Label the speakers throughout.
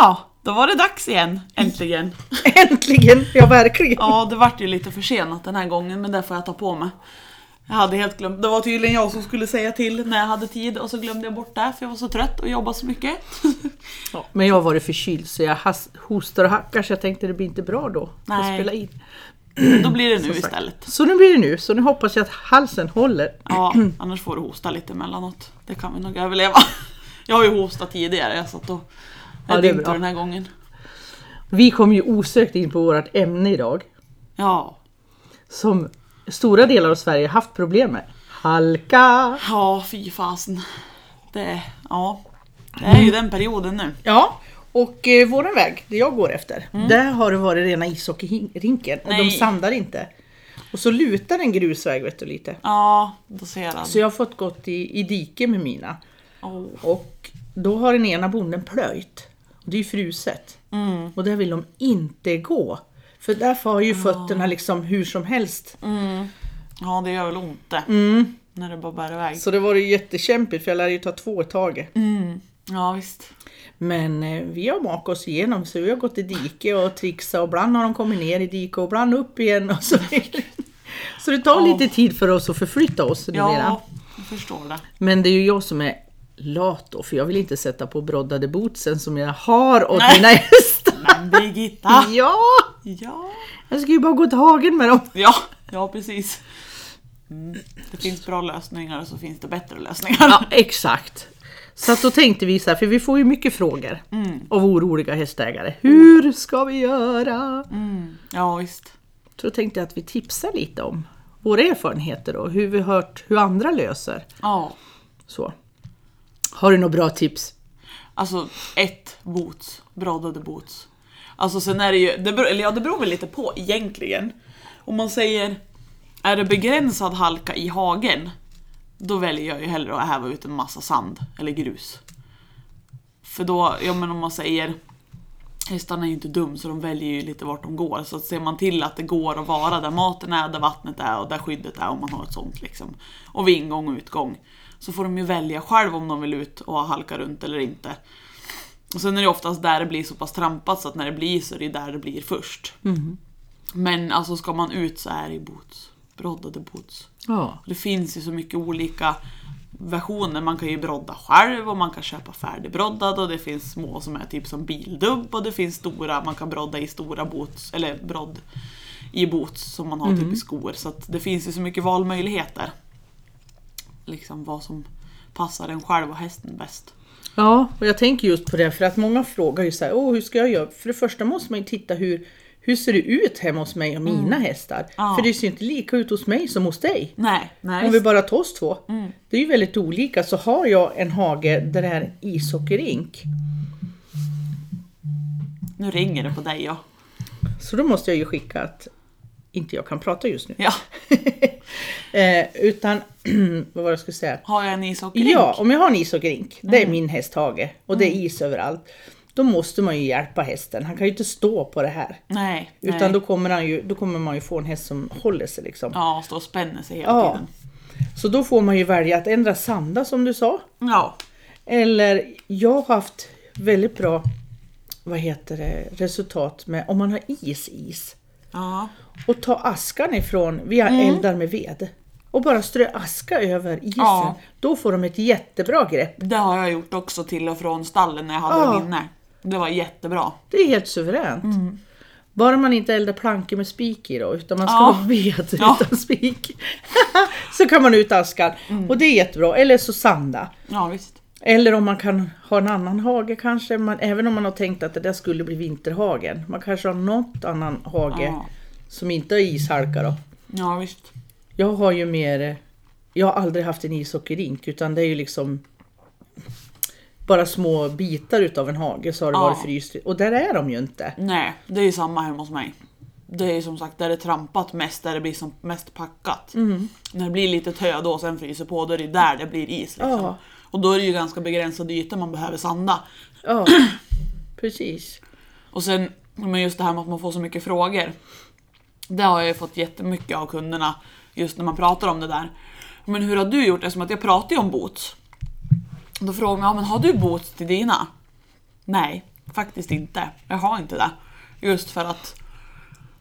Speaker 1: Ja, då var det dags igen. Äntligen.
Speaker 2: Äntligen! Ja, verkligen.
Speaker 1: Ja, det vart ju lite försenat den här gången men det får jag ta på mig. Jag hade helt glömt. Det var tydligen jag som skulle säga till när jag hade tid och så glömde jag bort det för jag var så trött och jobbade så mycket.
Speaker 2: Men jag har varit förkyld så jag has- hostar och hackar så jag tänkte det blir inte bra då att
Speaker 1: Nej.
Speaker 2: spela in.
Speaker 1: Då blir det nu
Speaker 2: Som sagt.
Speaker 1: istället.
Speaker 2: Så nu blir det nu, så nu hoppas jag att halsen håller.
Speaker 1: Ja, annars får du hosta lite emellanåt. Det kan vi nog överleva. Jag har ju hostat tidigare så att då
Speaker 2: Ja,
Speaker 1: är
Speaker 2: det
Speaker 1: det
Speaker 2: är
Speaker 1: inte
Speaker 2: bra.
Speaker 1: den här gången.
Speaker 2: Vi kom ju osökt in på vårt ämne idag
Speaker 1: Ja.
Speaker 2: som stora delar av Sverige haft problem med. Halka!
Speaker 1: Ja, fy fasen. Det, ja. det är
Speaker 2: Mm.
Speaker 1: ju den perioden nu.
Speaker 2: Ja, och eh, våran väg, det jag går efter, där har det varit rena ishockeyrinken och
Speaker 1: Mm. Nej.
Speaker 2: de sandar inte. Och så lutar en grusväg vet du lite.
Speaker 1: Ja, då ser jag den.
Speaker 2: Så jag har fått gått i, i dike med mina.
Speaker 1: Åh.
Speaker 2: Och då har den ena bonden plöjt. Och det är ju fruset.
Speaker 1: Mm.
Speaker 2: Och där vill de inte gå. För där far
Speaker 1: Ah.
Speaker 2: ju fötterna liksom hur som helst.
Speaker 1: Mm. Ja, det gör väl ont det. När det bara bär iväg.
Speaker 2: Så det var ju jättekämpigt för jag lärde ju ta två i taget.
Speaker 1: Mm. Ja, visst.
Speaker 2: Men eh, vi har makat oss igenom så vi har gått i dike och trixat och ibland har de kommit ner i dike och ibland upp igen. Och så, så det tar lite tid för oss att förflytta oss. numera.
Speaker 1: Ja, jag förstår det.
Speaker 2: Men det är ju jag som är lat då, för jag vill inte sätta på broddade bootsen som jag har åt
Speaker 1: Nej. Ah.
Speaker 2: mina hästar.
Speaker 1: Men Birgitta!
Speaker 2: Ja!
Speaker 1: Ja,
Speaker 2: Jag ska ju bara gå till hagen med dem.
Speaker 1: ja, ja precis. Mm. Det finns bra lösningar och så finns det bättre lösningar.
Speaker 2: Ja, exakt. Så att då tänkte vi så här, för vi får ju mycket frågor av oroliga hästägare. Hur ska vi göra?
Speaker 1: Mm. Ja, visst.
Speaker 2: Så då tänkte jag att vi tipsar lite om våra erfarenheter och hur vi hört hur andra löser.
Speaker 1: Ja.
Speaker 2: Så. Har du några bra tips?
Speaker 1: Alltså ett boots, broddade boots. Alltså sen är det ju, det beror, eller ja det beror väl lite på egentligen. Om man säger, är det begränsad halka i hagen, då väljer jag ju hellre att häva ut en massa sand eller grus. För då, ja men om man säger, hästarna är ju inte dum så de väljer ju lite vart de går. Så att ser man till att det går att vara där maten är, där vattnet är och där skyddet är om man har ett sånt liksom. Och vid ingång och utgång. Så får de ju välja själv om de vill ut och halka runt eller inte. Och sen är det oftast där det blir så pass trampat så att när det blir så är det där det blir först. Men alltså ska man ut så är det ju boots. Broddade boots.
Speaker 2: Ja.
Speaker 1: Det finns ju så mycket olika versioner. Man kan ju brodda själv och man kan köpa färdigbroddad och det finns små som är typ som bildubb och det finns stora man kan brodda i stora boots eller brodd i boots som man har typ
Speaker 2: Mm.
Speaker 1: i skor. Så att det finns ju så mycket valmöjligheter. Liksom vad som passar en själv och hästen bäst.
Speaker 2: Ja, och jag tänker just på det för att många frågar ju så här, Åh, hur ska jag göra? För det första måste man ju titta hur, hur ser det ut hemma hos mig och mina hästar?
Speaker 1: Ja.
Speaker 2: För det ser ju inte lika ut hos mig som hos dig.
Speaker 1: Nej, nej.
Speaker 2: Om vi bara tar oss två.
Speaker 1: Mm.
Speaker 2: Det är ju väldigt olika. Så har jag en hage där det är en ishockeyrink.
Speaker 1: Nu ringer det på dig ja.
Speaker 2: Så då måste jag ju skicka att inte jag kan prata just nu.
Speaker 1: ja.
Speaker 2: eh, utan, vad var det jag skulle säga?
Speaker 1: Har jag en ishockeyrink?
Speaker 2: Ja, om jag har en ishockeyrink, det
Speaker 1: Mm.
Speaker 2: är min hästhage och det är is överallt. Då måste man ju hjälpa hästen, han kan ju inte stå på det här.
Speaker 1: Nej. nej.
Speaker 2: Utan då kommer, han ju, då kommer man ju få en häst som håller sig liksom.
Speaker 1: Ja, stå och spänner sig hela
Speaker 2: Ja.
Speaker 1: tiden.
Speaker 2: Så då får man ju välja att ändra sanda som du sa.
Speaker 1: Ja.
Speaker 2: Eller jag har haft väldigt bra vad heter det, resultat med om man har is-is.
Speaker 1: Ja.
Speaker 2: Och ta askan ifrån, vi har
Speaker 1: Mm.
Speaker 2: eldar med ved. Och bara strö aska över isen.
Speaker 1: Ja.
Speaker 2: Då får de ett jättebra grepp.
Speaker 1: Det har jag gjort också till och från stallen när jag hade
Speaker 2: Ja.
Speaker 1: dem inne. Det var jättebra.
Speaker 2: Det är helt suveränt.
Speaker 1: Mm.
Speaker 2: Bara man inte eldar plankor med spik i då, utan man ska
Speaker 1: Ja.
Speaker 2: ha ved
Speaker 1: Ja.
Speaker 2: utan spik. så kan man ut askan.
Speaker 1: Mm.
Speaker 2: Och det är jättebra. Eller så sanda.
Speaker 1: Ja visst.
Speaker 2: Eller om man kan ha en annan hage kanske, man, även om man har tänkt att det där skulle bli vinterhagen. Man kanske har något annan hage
Speaker 1: Ja.
Speaker 2: som inte har ishalka då.
Speaker 1: Ja visst.
Speaker 2: Jag har ju mer, eh, jag har aldrig haft en ishockeyrink utan det är ju liksom bara små bitar utav en hage så har det
Speaker 1: Ja.
Speaker 2: varit fryst. Och där är de ju inte.
Speaker 1: Nej, det är ju samma hemma hos mig. Det är ju som sagt där det är trampat mest, där det blir som mest packat. När det blir lite tö då och sen fryser på, då är det där det blir is. Liksom.
Speaker 2: Ja.
Speaker 1: Och då är det ju ganska begränsade ytor man behöver sanda.
Speaker 2: Ja, precis.
Speaker 1: Och sen, men just det här med att man får så mycket frågor. Det har jag ju fått jättemycket av kunderna just när man pratar om det där. Men hur har du gjort? Eftersom att jag pratar ju om boots. Då frågar man, ja, men har du boots till dina? Nej. faktiskt inte. Jag har inte det. Just för att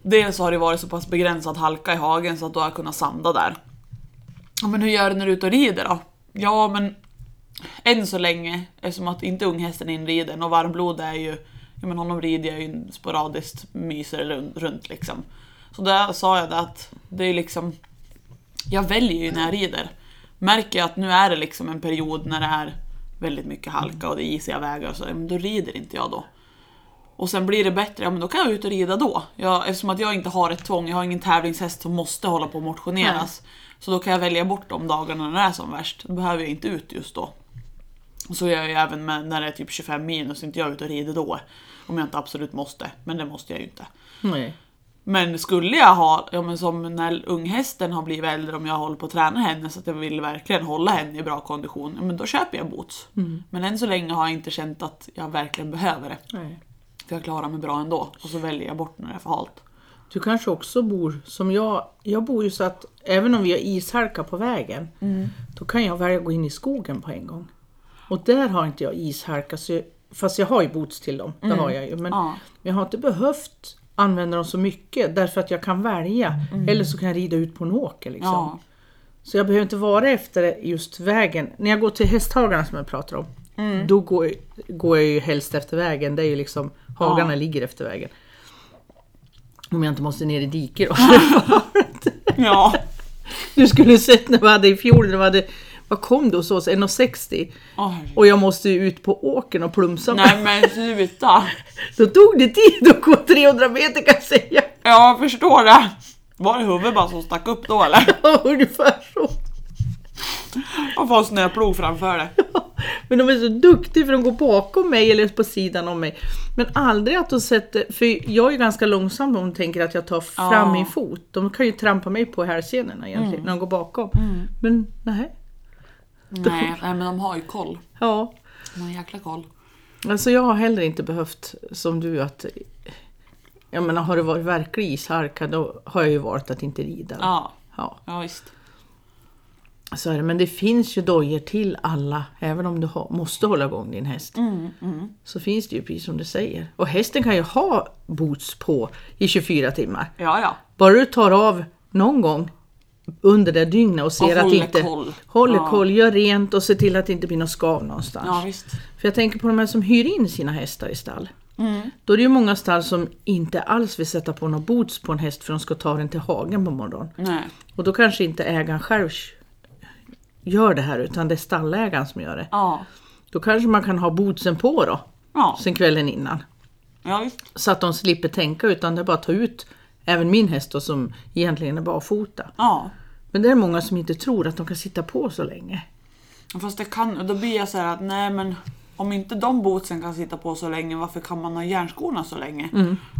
Speaker 1: dels har det varit så pass begränsad halka i hagen så att då har jag kunnat sanda där. Ja, men hur gör du när du är ute och rider då? Ja, men än så länge, eftersom att inte unghästen är inriden och varmblod är ju, ja men honom rider jag ju sporadiskt, myser runt, runt liksom. Så där sa jag det att det är liksom, jag väljer ju när jag rider. Märker jag att nu är det liksom en period när det är väldigt mycket halka och det är isiga vägar och så, ja, men då rider inte jag då. Och sen blir det bättre, ja men då kan jag ut och rida då. Jag, eftersom att jag inte har ett tvång, jag har ingen tävlingshäst som måste hålla på och motioneras. Så då kan jag välja bort de dagarna när det är som värst. Då behöver jag inte ut just då. Och så gör jag ju även med, när det är typ 25 minus, inte jag är ute och rider då. Om jag inte absolut måste, men det måste jag ju inte.
Speaker 2: Nej.
Speaker 1: Men skulle jag ha, ja men som när unghästen har blivit äldre, om jag håller på att träna henne så att jag vill verkligen hålla henne i bra kondition, ja men då köper jag boots. Men än så länge har jag inte känt att jag verkligen behöver det.
Speaker 2: Nej.
Speaker 1: För jag klarar mig bra ändå. Och så väljer jag bort när det är för halt.
Speaker 2: Du kanske också bor som jag. Jag bor ju så att även om vi har ishalka på vägen,
Speaker 1: Mm.
Speaker 2: då kan jag välja att gå in i skogen på en gång. Och där har inte jag ishalka, så jag, fast jag har ju boots till dem. Det har jag ju.
Speaker 1: Mm.
Speaker 2: Men
Speaker 1: Ja.
Speaker 2: jag har inte behövt använda dem så mycket därför att jag kan välja. Eller så kan jag rida ut på en åker. Liksom.
Speaker 1: Mm. Ja.
Speaker 2: Så jag behöver inte vara efter just vägen. När jag går till hästhagarna som jag pratar om, då går, går jag ju helst efter vägen. Det är ju liksom, hagarna ligger efter vägen. Om jag inte måste ner i diket då.
Speaker 1: Ja.
Speaker 2: du skulle sett när vi hade i fjol, när vi hade, vad kom det hos oss? 1,60?
Speaker 1: Åh,
Speaker 2: Och jag måste ju ut på åkern och plumsa mig.
Speaker 1: nej men sluta.
Speaker 2: Då tog det tid att gå 300 meter kan jag säga.
Speaker 1: Ja, Jag förstår det. Var det huvudet bara som stack upp då eller?
Speaker 2: Ja, Ungefär så.
Speaker 1: Och få en snöplog framför det.
Speaker 2: Men de är så duktiga för de går bakom mig eller på sidan om mig. Men aldrig att de sätter, för jag är ju ganska långsam om de tänker att jag tar fram
Speaker 1: Ja.
Speaker 2: min fot. De kan ju trampa mig på hälsenorna egentligen när de går bakom. Men nej.
Speaker 1: Nej, nej men de har ju koll.
Speaker 2: Ja.
Speaker 1: De har jäkla koll.
Speaker 2: Alltså jag har heller inte behövt som du att jag menar, har det varit verklig isharka då har jag ju valt att inte rida.
Speaker 1: Ja,
Speaker 2: Ja,
Speaker 1: ja visst.
Speaker 2: så är det. Men det finns ju dojor till alla, även om du har, måste hålla igång din häst.
Speaker 1: Mm,
Speaker 2: Så finns det ju precis som du säger. Och hästen kan ju ha boots på i 24 timmar.
Speaker 1: Ja, ja.
Speaker 2: Bara du tar av någon gång under det dygnet och ser att
Speaker 1: håller
Speaker 2: inte
Speaker 1: koll.
Speaker 2: håller
Speaker 1: Ja.
Speaker 2: koll, gör rent och ser till att det inte blir något skav någonstans.
Speaker 1: Ja visst.
Speaker 2: För jag tänker på de här som hyr in sina hästar i stall.
Speaker 1: Mm.
Speaker 2: Då är det ju många stall som inte alls vill sätta på några boots på en häst för de ska ta den till hagen på morgonen.
Speaker 1: Nej.
Speaker 2: Och då kanske inte ägaren själv gör det här utan det är stallägaren som gör det.
Speaker 1: Ja.
Speaker 2: Då kanske man kan ha bootsen på då,
Speaker 1: Ja,
Speaker 2: sen kvällen innan.
Speaker 1: ja visst.
Speaker 2: Så att de slipper tänka utan det är bara att ta ut även min häst då, som egentligen är barfota.
Speaker 1: Ja.
Speaker 2: Men det är många som inte tror att de kan sitta på så länge.
Speaker 1: Fast det kan, då blir jag så här att nej men om inte de bootsen kan sitta på så länge, varför kan man ha järnskorna så länge?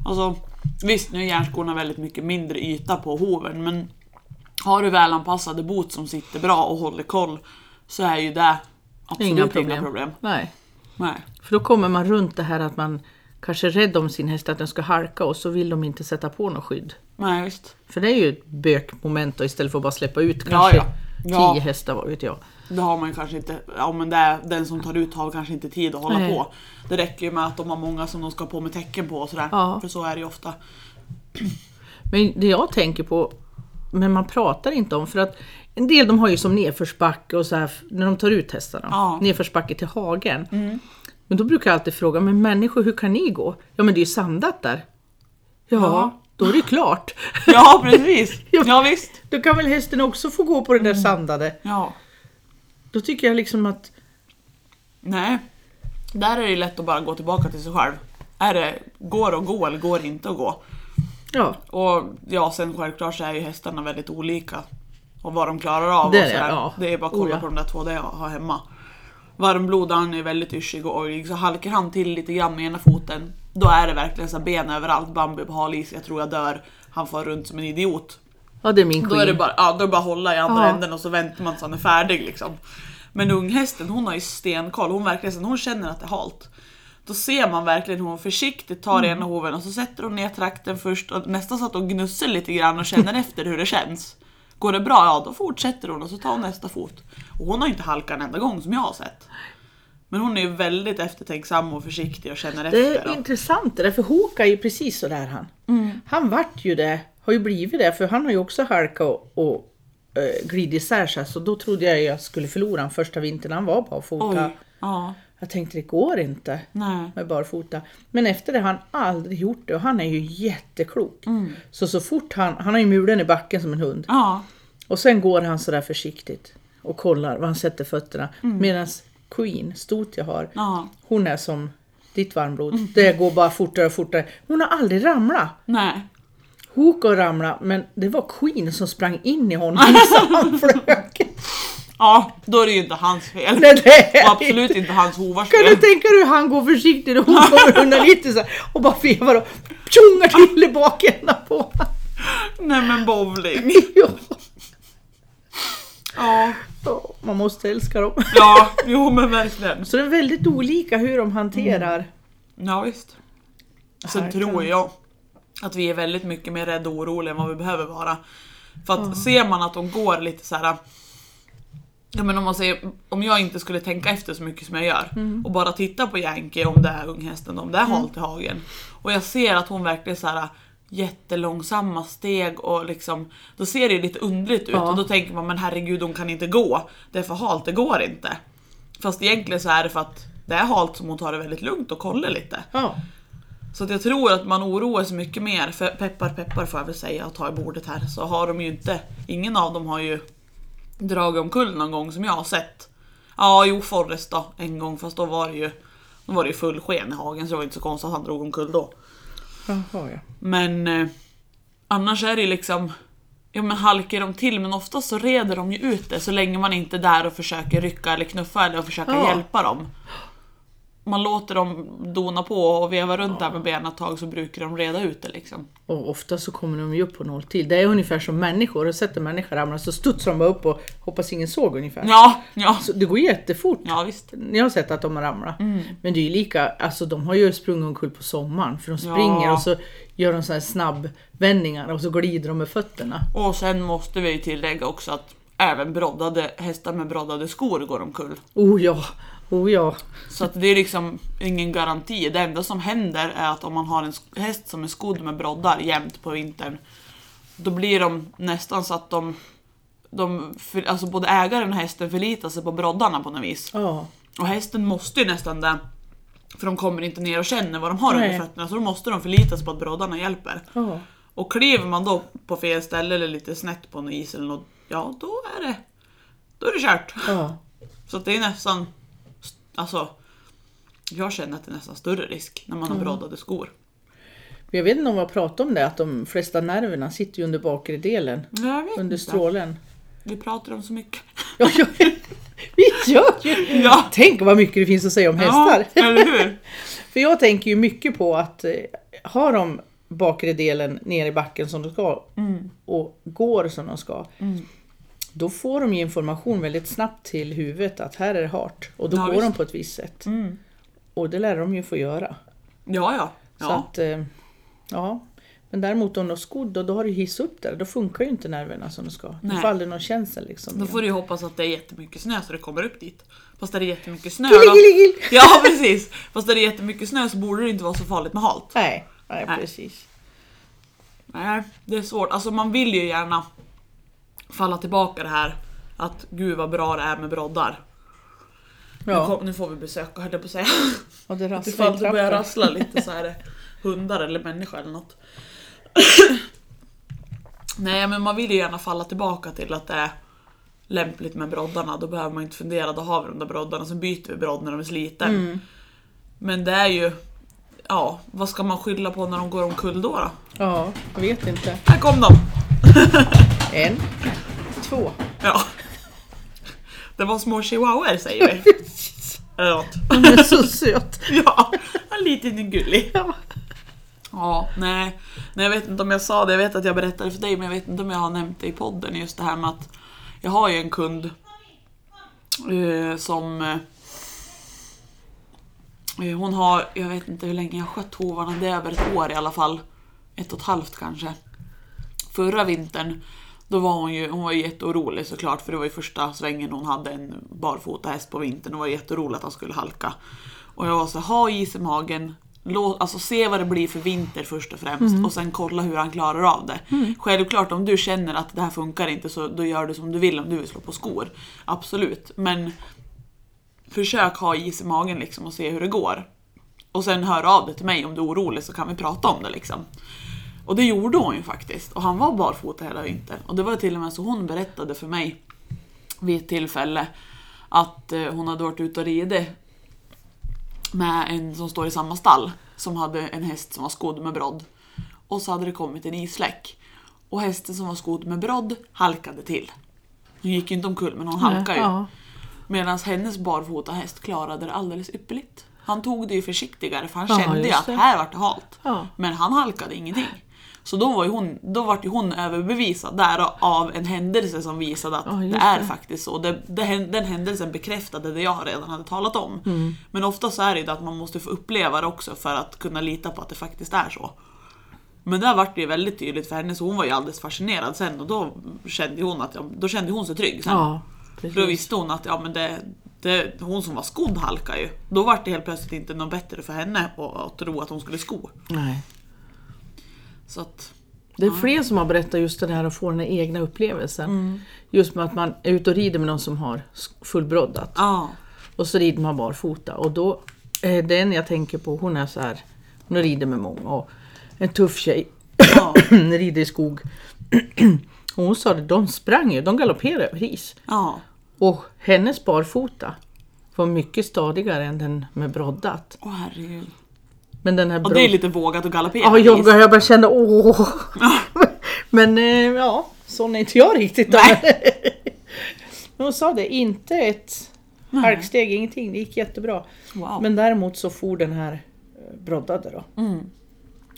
Speaker 1: Alltså, visst, nu är järnskorna väldigt mycket mindre yta på hoven, men har du välanpassade boots som sitter bra och håller koll så är ju det absolut inga problem.
Speaker 2: Nej.
Speaker 1: Nej.
Speaker 2: För då kommer man runt det här att man kanske är rädd om sin häst, att den ska halka och så vill de inte sätta på något skydd.
Speaker 1: nej, visst.
Speaker 2: För det är ju ett bökmoment då, istället för att bara släppa ut
Speaker 1: Ja,
Speaker 2: kanske
Speaker 1: ja. Ja.
Speaker 2: tio hästar, vad vet jag.
Speaker 1: Det har man ju kanske inte, ja men det är, den som tar ut har kanske inte tid att hålla
Speaker 2: Nej.
Speaker 1: på. Det räcker ju med att de har många som de ska ha på med tecken på och sådär.
Speaker 2: Ja.
Speaker 1: För så är det ju ofta.
Speaker 2: Men det jag tänker på, men man pratar inte om, för att en del de har ju som nedförsbacke och så här, när de tar ut hästarna,
Speaker 1: Ja. Mm.
Speaker 2: nedförsbacke till hagen. Men då brukar jag alltid fråga, men människor hur kan ni gå? Ja men det är ju sandat där. Ja,
Speaker 1: Ja.
Speaker 2: då är det ju klart.
Speaker 1: Ja precis! Ja visst!
Speaker 2: Då kan väl hästen också få gå på det där sandade.
Speaker 1: Ja.
Speaker 2: Då tycker jag liksom att
Speaker 1: Nej. Där är det ju lätt att bara gå tillbaka till sig själv. Är det går att gå eller går det inte att gå?
Speaker 2: Ja,
Speaker 1: Och ja, sen självklart så är ju hästarna väldigt olika. Och vad de klarar av.
Speaker 2: Det
Speaker 1: och
Speaker 2: är det,
Speaker 1: sådär.
Speaker 2: ja.
Speaker 1: det är bara att kolla
Speaker 2: Oh, ja.
Speaker 1: på de där två det jag har hemma. Varmblod, han är väldigt yrsig och oljig, så halkar han till lite grann med ena foten, då är det verkligen så här ben överallt, Bambi på hal is, jag tror jag dör, han far runt som en idiot.
Speaker 2: ja det är min
Speaker 1: Då är det
Speaker 2: queen.
Speaker 1: bara, ja, då är det bara att hålla i andra
Speaker 2: Ja.
Speaker 1: änden och så väntar man tills han är färdig liksom. Men unghästen hon har ju stenkoll, hon verkligen sen hon känner att det är halt. Då ser man verkligen hur hon försiktigt tar
Speaker 2: Mm.
Speaker 1: i ena hoven och så sätter hon ner trakten först och nästan så att hon gnussar lite grann och känner efter hur det känns. Går det bra, ja då fortsätter hon och så tar hon nästa fot. Och hon har inte halkat en enda gång som jag har sett. Men hon är ju väldigt eftertänksam och försiktig och känner
Speaker 2: Det
Speaker 1: efter. Mm.
Speaker 2: är
Speaker 1: och-
Speaker 2: intressant det där, för Håka är ju precis sådär han. Han vart ju det, har ju blivit det, för han har ju också halkat och, och eh, glidit isär sig, så då trodde jag jag skulle förlora han första vintern han var barfota.
Speaker 1: Oj. Ja.
Speaker 2: Jag tänkte det går inte
Speaker 1: Nej.
Speaker 2: med barfota. Men efter det har han aldrig gjort det och han är ju jätteklok.
Speaker 1: Mm.
Speaker 2: Så så fort han, han har ju mulen i backen som en hund.
Speaker 1: Ja.
Speaker 2: Och sen går han sådär försiktigt och kollar var han sätter fötterna. Medan Queen, stot jag har,
Speaker 1: Mm. Ja. Mm.
Speaker 2: hon är som ditt varmblod. Det går bara fortare och fortare. Hon har aldrig ramlat.
Speaker 1: Nej.
Speaker 2: Hook har ramlat, men det var Queen som sprang in i honom så han flög.
Speaker 1: Ja, då är det ju inte hans fel.
Speaker 2: Nej, det är
Speaker 1: Och absolut inte hans hovars
Speaker 2: Kan du
Speaker 1: fel.
Speaker 2: tänka dig hur han går försiktigt och hon kommer undan lite så här, och bara vevar och tjongar till i bakändan på honom.
Speaker 1: Nej men bowling.
Speaker 2: Ja.
Speaker 1: Ja,
Speaker 2: Ja, Man måste älska dem.
Speaker 1: ja jo men verkligen.
Speaker 2: Så det är väldigt olika hur de hanterar.
Speaker 1: Mm. Ja, visst. Sen
Speaker 2: Här
Speaker 1: tror
Speaker 2: kan-
Speaker 1: jag att vi är väldigt mycket mer rädda och oroliga än vad vi behöver vara. För att ser man att de går lite så här. äh, Ja, men om, man säger, om jag inte skulle tänka efter så mycket som jag gör och bara titta på Yankee om det är unghästen, om det är halt i hagen. Och jag ser att hon verkligen så här äh, jättelångsamma steg och liksom då ser det ju lite underligt ut
Speaker 2: Ja.
Speaker 1: och då tänker man men herregud hon kan inte gå. Det är för halt, det går inte. Fast egentligen så är det för att det är halt som hon tar det väldigt lugnt och kollar lite.
Speaker 2: Ja.
Speaker 1: Så att jag tror att man oroar sig mycket mer, för peppar peppar får jag väl säga och ta i bordet här, så har de ju inte, ingen av dem har ju dragit omkull någon gång som jag har sett. Ja, jo Forrest då, en gång, fast då var det ju, då var det ju full sken i hagen så det var inte så konstigt att han drog omkull då.
Speaker 2: Jaha, ja.
Speaker 1: Men eh, annars är det ju liksom, ja men halkar de till men oftast så reder de ju ut det så länge man inte är där och försöker rycka eller knuffa eller och försöka
Speaker 2: Ja.
Speaker 1: hjälpa dem. Man låter dem dona på och veva runt där med benen ett tag så brukar de reda ut det liksom.
Speaker 2: Och ofta så kommer de ju upp på noll till. Det är ungefär som människor, har du sett en människa ramla så studsar de bara upp och hoppas ingen såg ungefär.
Speaker 1: Ja, ja,
Speaker 2: Så det går jättefort.
Speaker 1: ja visst.
Speaker 2: Jag har sett att de har ramlat. Men det är ju lika, alltså de har ju sprungit omkull på sommaren för de springer
Speaker 1: Ja.
Speaker 2: och så gör de så här snabbvändningar och så glider de med fötterna.
Speaker 1: Och sen måste vi ju tillägga också att även broddade hästar med broddade skor går omkull.
Speaker 2: Oh ja, oh ja.
Speaker 1: Så att det är liksom ingen garanti. Det enda som händer är att om man har en sk- häst som är skodd med broddar jämt på vintern, då blir de nästan så att de, de för, alltså både ägaren och hästen förlitar sig på broddarna på något vis.
Speaker 2: Ja,
Speaker 1: Och hästen måste ju nästan det, för de kommer inte ner och känner vad de har
Speaker 2: Nej.
Speaker 1: under fötterna, så då måste de förlita sig på att broddarna hjälper.
Speaker 2: ja.
Speaker 1: Och kliver man då på fel ställe eller lite snett på någon is eller något, ja då är det, då är det kört.
Speaker 2: ja.
Speaker 1: Så att det är nästan, alltså, jag känner att det är nästan större risk när man har
Speaker 2: Mm.
Speaker 1: broddade skor.
Speaker 2: Jag vet inte om jag pratade om det, att de flesta nerverna sitter ju under bakre delen.
Speaker 1: Jag vet
Speaker 2: Under
Speaker 1: inte.
Speaker 2: strålen.
Speaker 1: Vi pratar om så mycket.
Speaker 2: Ja, ja, vi gör ju!
Speaker 1: Ja.
Speaker 2: Tänk vad mycket det finns att säga om Mm. hästar.
Speaker 1: Ja, eller hur?
Speaker 2: För jag tänker ju mycket på att eh, har de bakre delen ner i backen som de ska
Speaker 1: Mm.
Speaker 2: och går som de ska. Då får de ju information väldigt snabbt till huvudet att här är det hart och då
Speaker 1: Ja,
Speaker 2: går de
Speaker 1: visst. Mm.
Speaker 2: på ett visst sätt. Och det lär de ju få göra.
Speaker 1: Ja, ja.
Speaker 2: Så
Speaker 1: ja.
Speaker 2: att, eh, ja. Men däremot om de har skodd då, då har du hiss upp där, då funkar ju inte nerverna som de ska. Då
Speaker 1: Nej.
Speaker 2: får aldrig någon känsel liksom.
Speaker 1: Då
Speaker 2: igen.
Speaker 1: får du ju hoppas att det är jättemycket snö så det kommer upp dit. Fast där det är jättemycket snö
Speaker 2: Gilli,
Speaker 1: då...
Speaker 2: gilli, gilli.
Speaker 1: Ja precis! Fast där det är jättemycket snö så borde det inte vara så farligt med halt.
Speaker 2: Nej, nej,
Speaker 1: Nej.
Speaker 2: precis.
Speaker 1: Nej, det är svårt. Alltså man vill ju gärna falla tillbaka det här att gud vad bra det är med broddar. Nu,
Speaker 2: Ja,
Speaker 1: kom, nu får vi besök höll jag på att säga.
Speaker 2: och det rasslar
Speaker 1: Ifall
Speaker 2: i
Speaker 1: det börjar
Speaker 2: trappan.
Speaker 1: rassla lite så är det hundar eller människor eller något. Nej men man vill ju gärna falla tillbaka till att det är lämpligt med broddarna. Då behöver man inte fundera, då har vi de där broddarna. Sen byter vi brodd när de är sliten. Men det är ju, ja vad ska man skylla på när de går omkull då? då?
Speaker 2: Ja, jag vet inte.
Speaker 1: Här kom de!
Speaker 2: En, två.
Speaker 1: Ja. Det var små chihuahuor säger vi. Eller något.
Speaker 2: Den är så söt.
Speaker 1: Ja, en liten gullig.
Speaker 2: Ja.
Speaker 1: Ja, nej. nej. Jag vet inte om jag sa det, jag vet att jag berättade för dig men jag vet inte om jag har nämnt det i podden just det här med att jag har ju en kund eh, som eh, hon har, jag vet inte hur länge jag har skött hovarna, det är över ett år i alla fall. Ett och ett halvt kanske. Förra vintern Då var hon ju, hon var ju jätteorolig såklart för det var ju första svängen hon hade en barfota häst på vintern och var jätteorolig att han skulle halka. Och jag var så ha is i magen, Låt, alltså se vad det blir för vinter först och främst och sen kolla hur han klarar av det. Självklart om du känner att det här funkar inte så då gör du som du vill om du vill slå på skor. Absolut, men försök ha is i magen liksom och se hur det går. Och sen hör av dig till mig om du är orolig så kan vi prata om det liksom. Och det gjorde hon ju faktiskt. Och han var barfota hela vintern. Och det var till och med så hon berättade för mig vid ett tillfälle att eh, hon hade varit ute och ridit med en som står i samma stall som hade en häst som var skodd med brodd. Och så hade det kommit en isläck. Och hästen som var skodd med brodd halkade till. Hon gick ju inte omkull men hon halkade ju.
Speaker 2: Ja.
Speaker 1: Medan hennes barfota häst klarade det alldeles ypperligt. Han tog det ju försiktigare för han
Speaker 2: Ja,
Speaker 1: kände ju
Speaker 2: just
Speaker 1: att
Speaker 2: det.
Speaker 1: här vart det halt.
Speaker 2: Ja.
Speaker 1: Men han halkade ingenting. Så då var ju hon, då vart ju hon överbevisad där av en händelse som visade att
Speaker 2: Ja, just
Speaker 1: det är
Speaker 2: det.
Speaker 1: faktiskt så. Det, det, hän- den händelsen bekräftade det jag redan hade talat om.
Speaker 2: Mm.
Speaker 1: Men ofta så är det ju det att man måste få uppleva det också för att kunna lita på att det faktiskt är så. Men där vart det ju väldigt tydligt för henne så hon var ju alldeles fascinerad sen och då kände hon, att, då kände hon sig trygg sen.
Speaker 2: ja,
Speaker 1: För då
Speaker 2: precis.
Speaker 1: visste hon att ja, men det, det, hon som var skodd halkade ju. Då var det helt plötsligt inte något bättre för henne att, att tro att hon skulle sko.
Speaker 2: Nej.
Speaker 1: Så att,
Speaker 2: Det är fler som har berättat just det här att få den här egna upplevelsen. Just med att man är ute och rider med någon som har sk- fullbroddat.
Speaker 1: ja.
Speaker 2: Och så rider man barfota. Och då, eh, den jag tänker på, hon är så här, hon rider med många. Och en tuff tjej,
Speaker 1: ja.
Speaker 2: rider i skog. och hon sa det, de sprang ju, de galopperade över is.
Speaker 1: ja.
Speaker 2: Och hennes barfota var mycket stadigare än den med broddat.
Speaker 1: Åh herregud.
Speaker 2: Men den här
Speaker 1: Och det är
Speaker 2: broddat...
Speaker 1: lite vågat att galoppera.
Speaker 2: Ja,
Speaker 1: i
Speaker 2: jag,
Speaker 1: is.
Speaker 2: jag bara kände åh. Men eh, ja, sån är inte jag riktigt. då. Men hon sa det, inte ett halksteg, ingenting. Det gick jättebra.
Speaker 1: Wow. Mm.
Speaker 2: Men däremot så for den här eh, broddade då.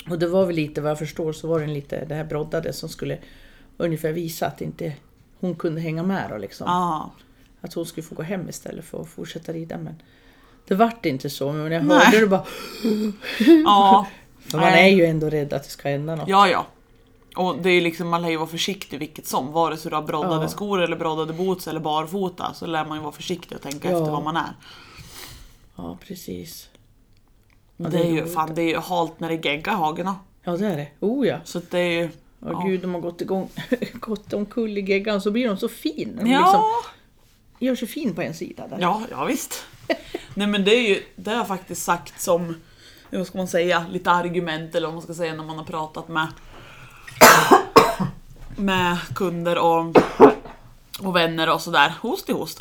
Speaker 2: Och det var väl lite, vad jag förstår, så var den lite det här broddade som skulle ungefär visa att inte hon kunde hänga med då liksom.
Speaker 1: ja.
Speaker 2: Att hon skulle få gå hem istället för att fortsätta rida. Men det vart inte så, men när jag
Speaker 1: Nej.
Speaker 2: hörde det bara...
Speaker 1: ja.
Speaker 2: För man är
Speaker 1: Nej.
Speaker 2: ju ändå rädd att det ska hända något.
Speaker 1: Ja, ja. Och det är liksom, man lär ju vara försiktig vilket som. Vare sig du har broddade
Speaker 2: Ja.
Speaker 1: skor eller broddade boots eller barfota så lär man ju vara försiktig och tänka
Speaker 2: Ja.
Speaker 1: efter vad man är.
Speaker 2: Ja, precis.
Speaker 1: Det,
Speaker 2: det är
Speaker 1: är ju
Speaker 2: roligt.
Speaker 1: fan, det är ju halt när det geggar i hagen.
Speaker 2: Ja, det är det. Oh ja.
Speaker 1: Så att det är ju...
Speaker 2: Åh
Speaker 1: Ja.
Speaker 2: gud, de har gått igång, gått omkull i geggan så blir de så fin. De
Speaker 1: Ja.
Speaker 2: liksom gör sig fin på en sida där.
Speaker 1: Ja, ja visst. Nej men det är ju, det har jag faktiskt sagt som, vad ska man säga, lite argument eller vad man ska säga när man har pratat med med kunder och, och vänner och sådär. Host i host.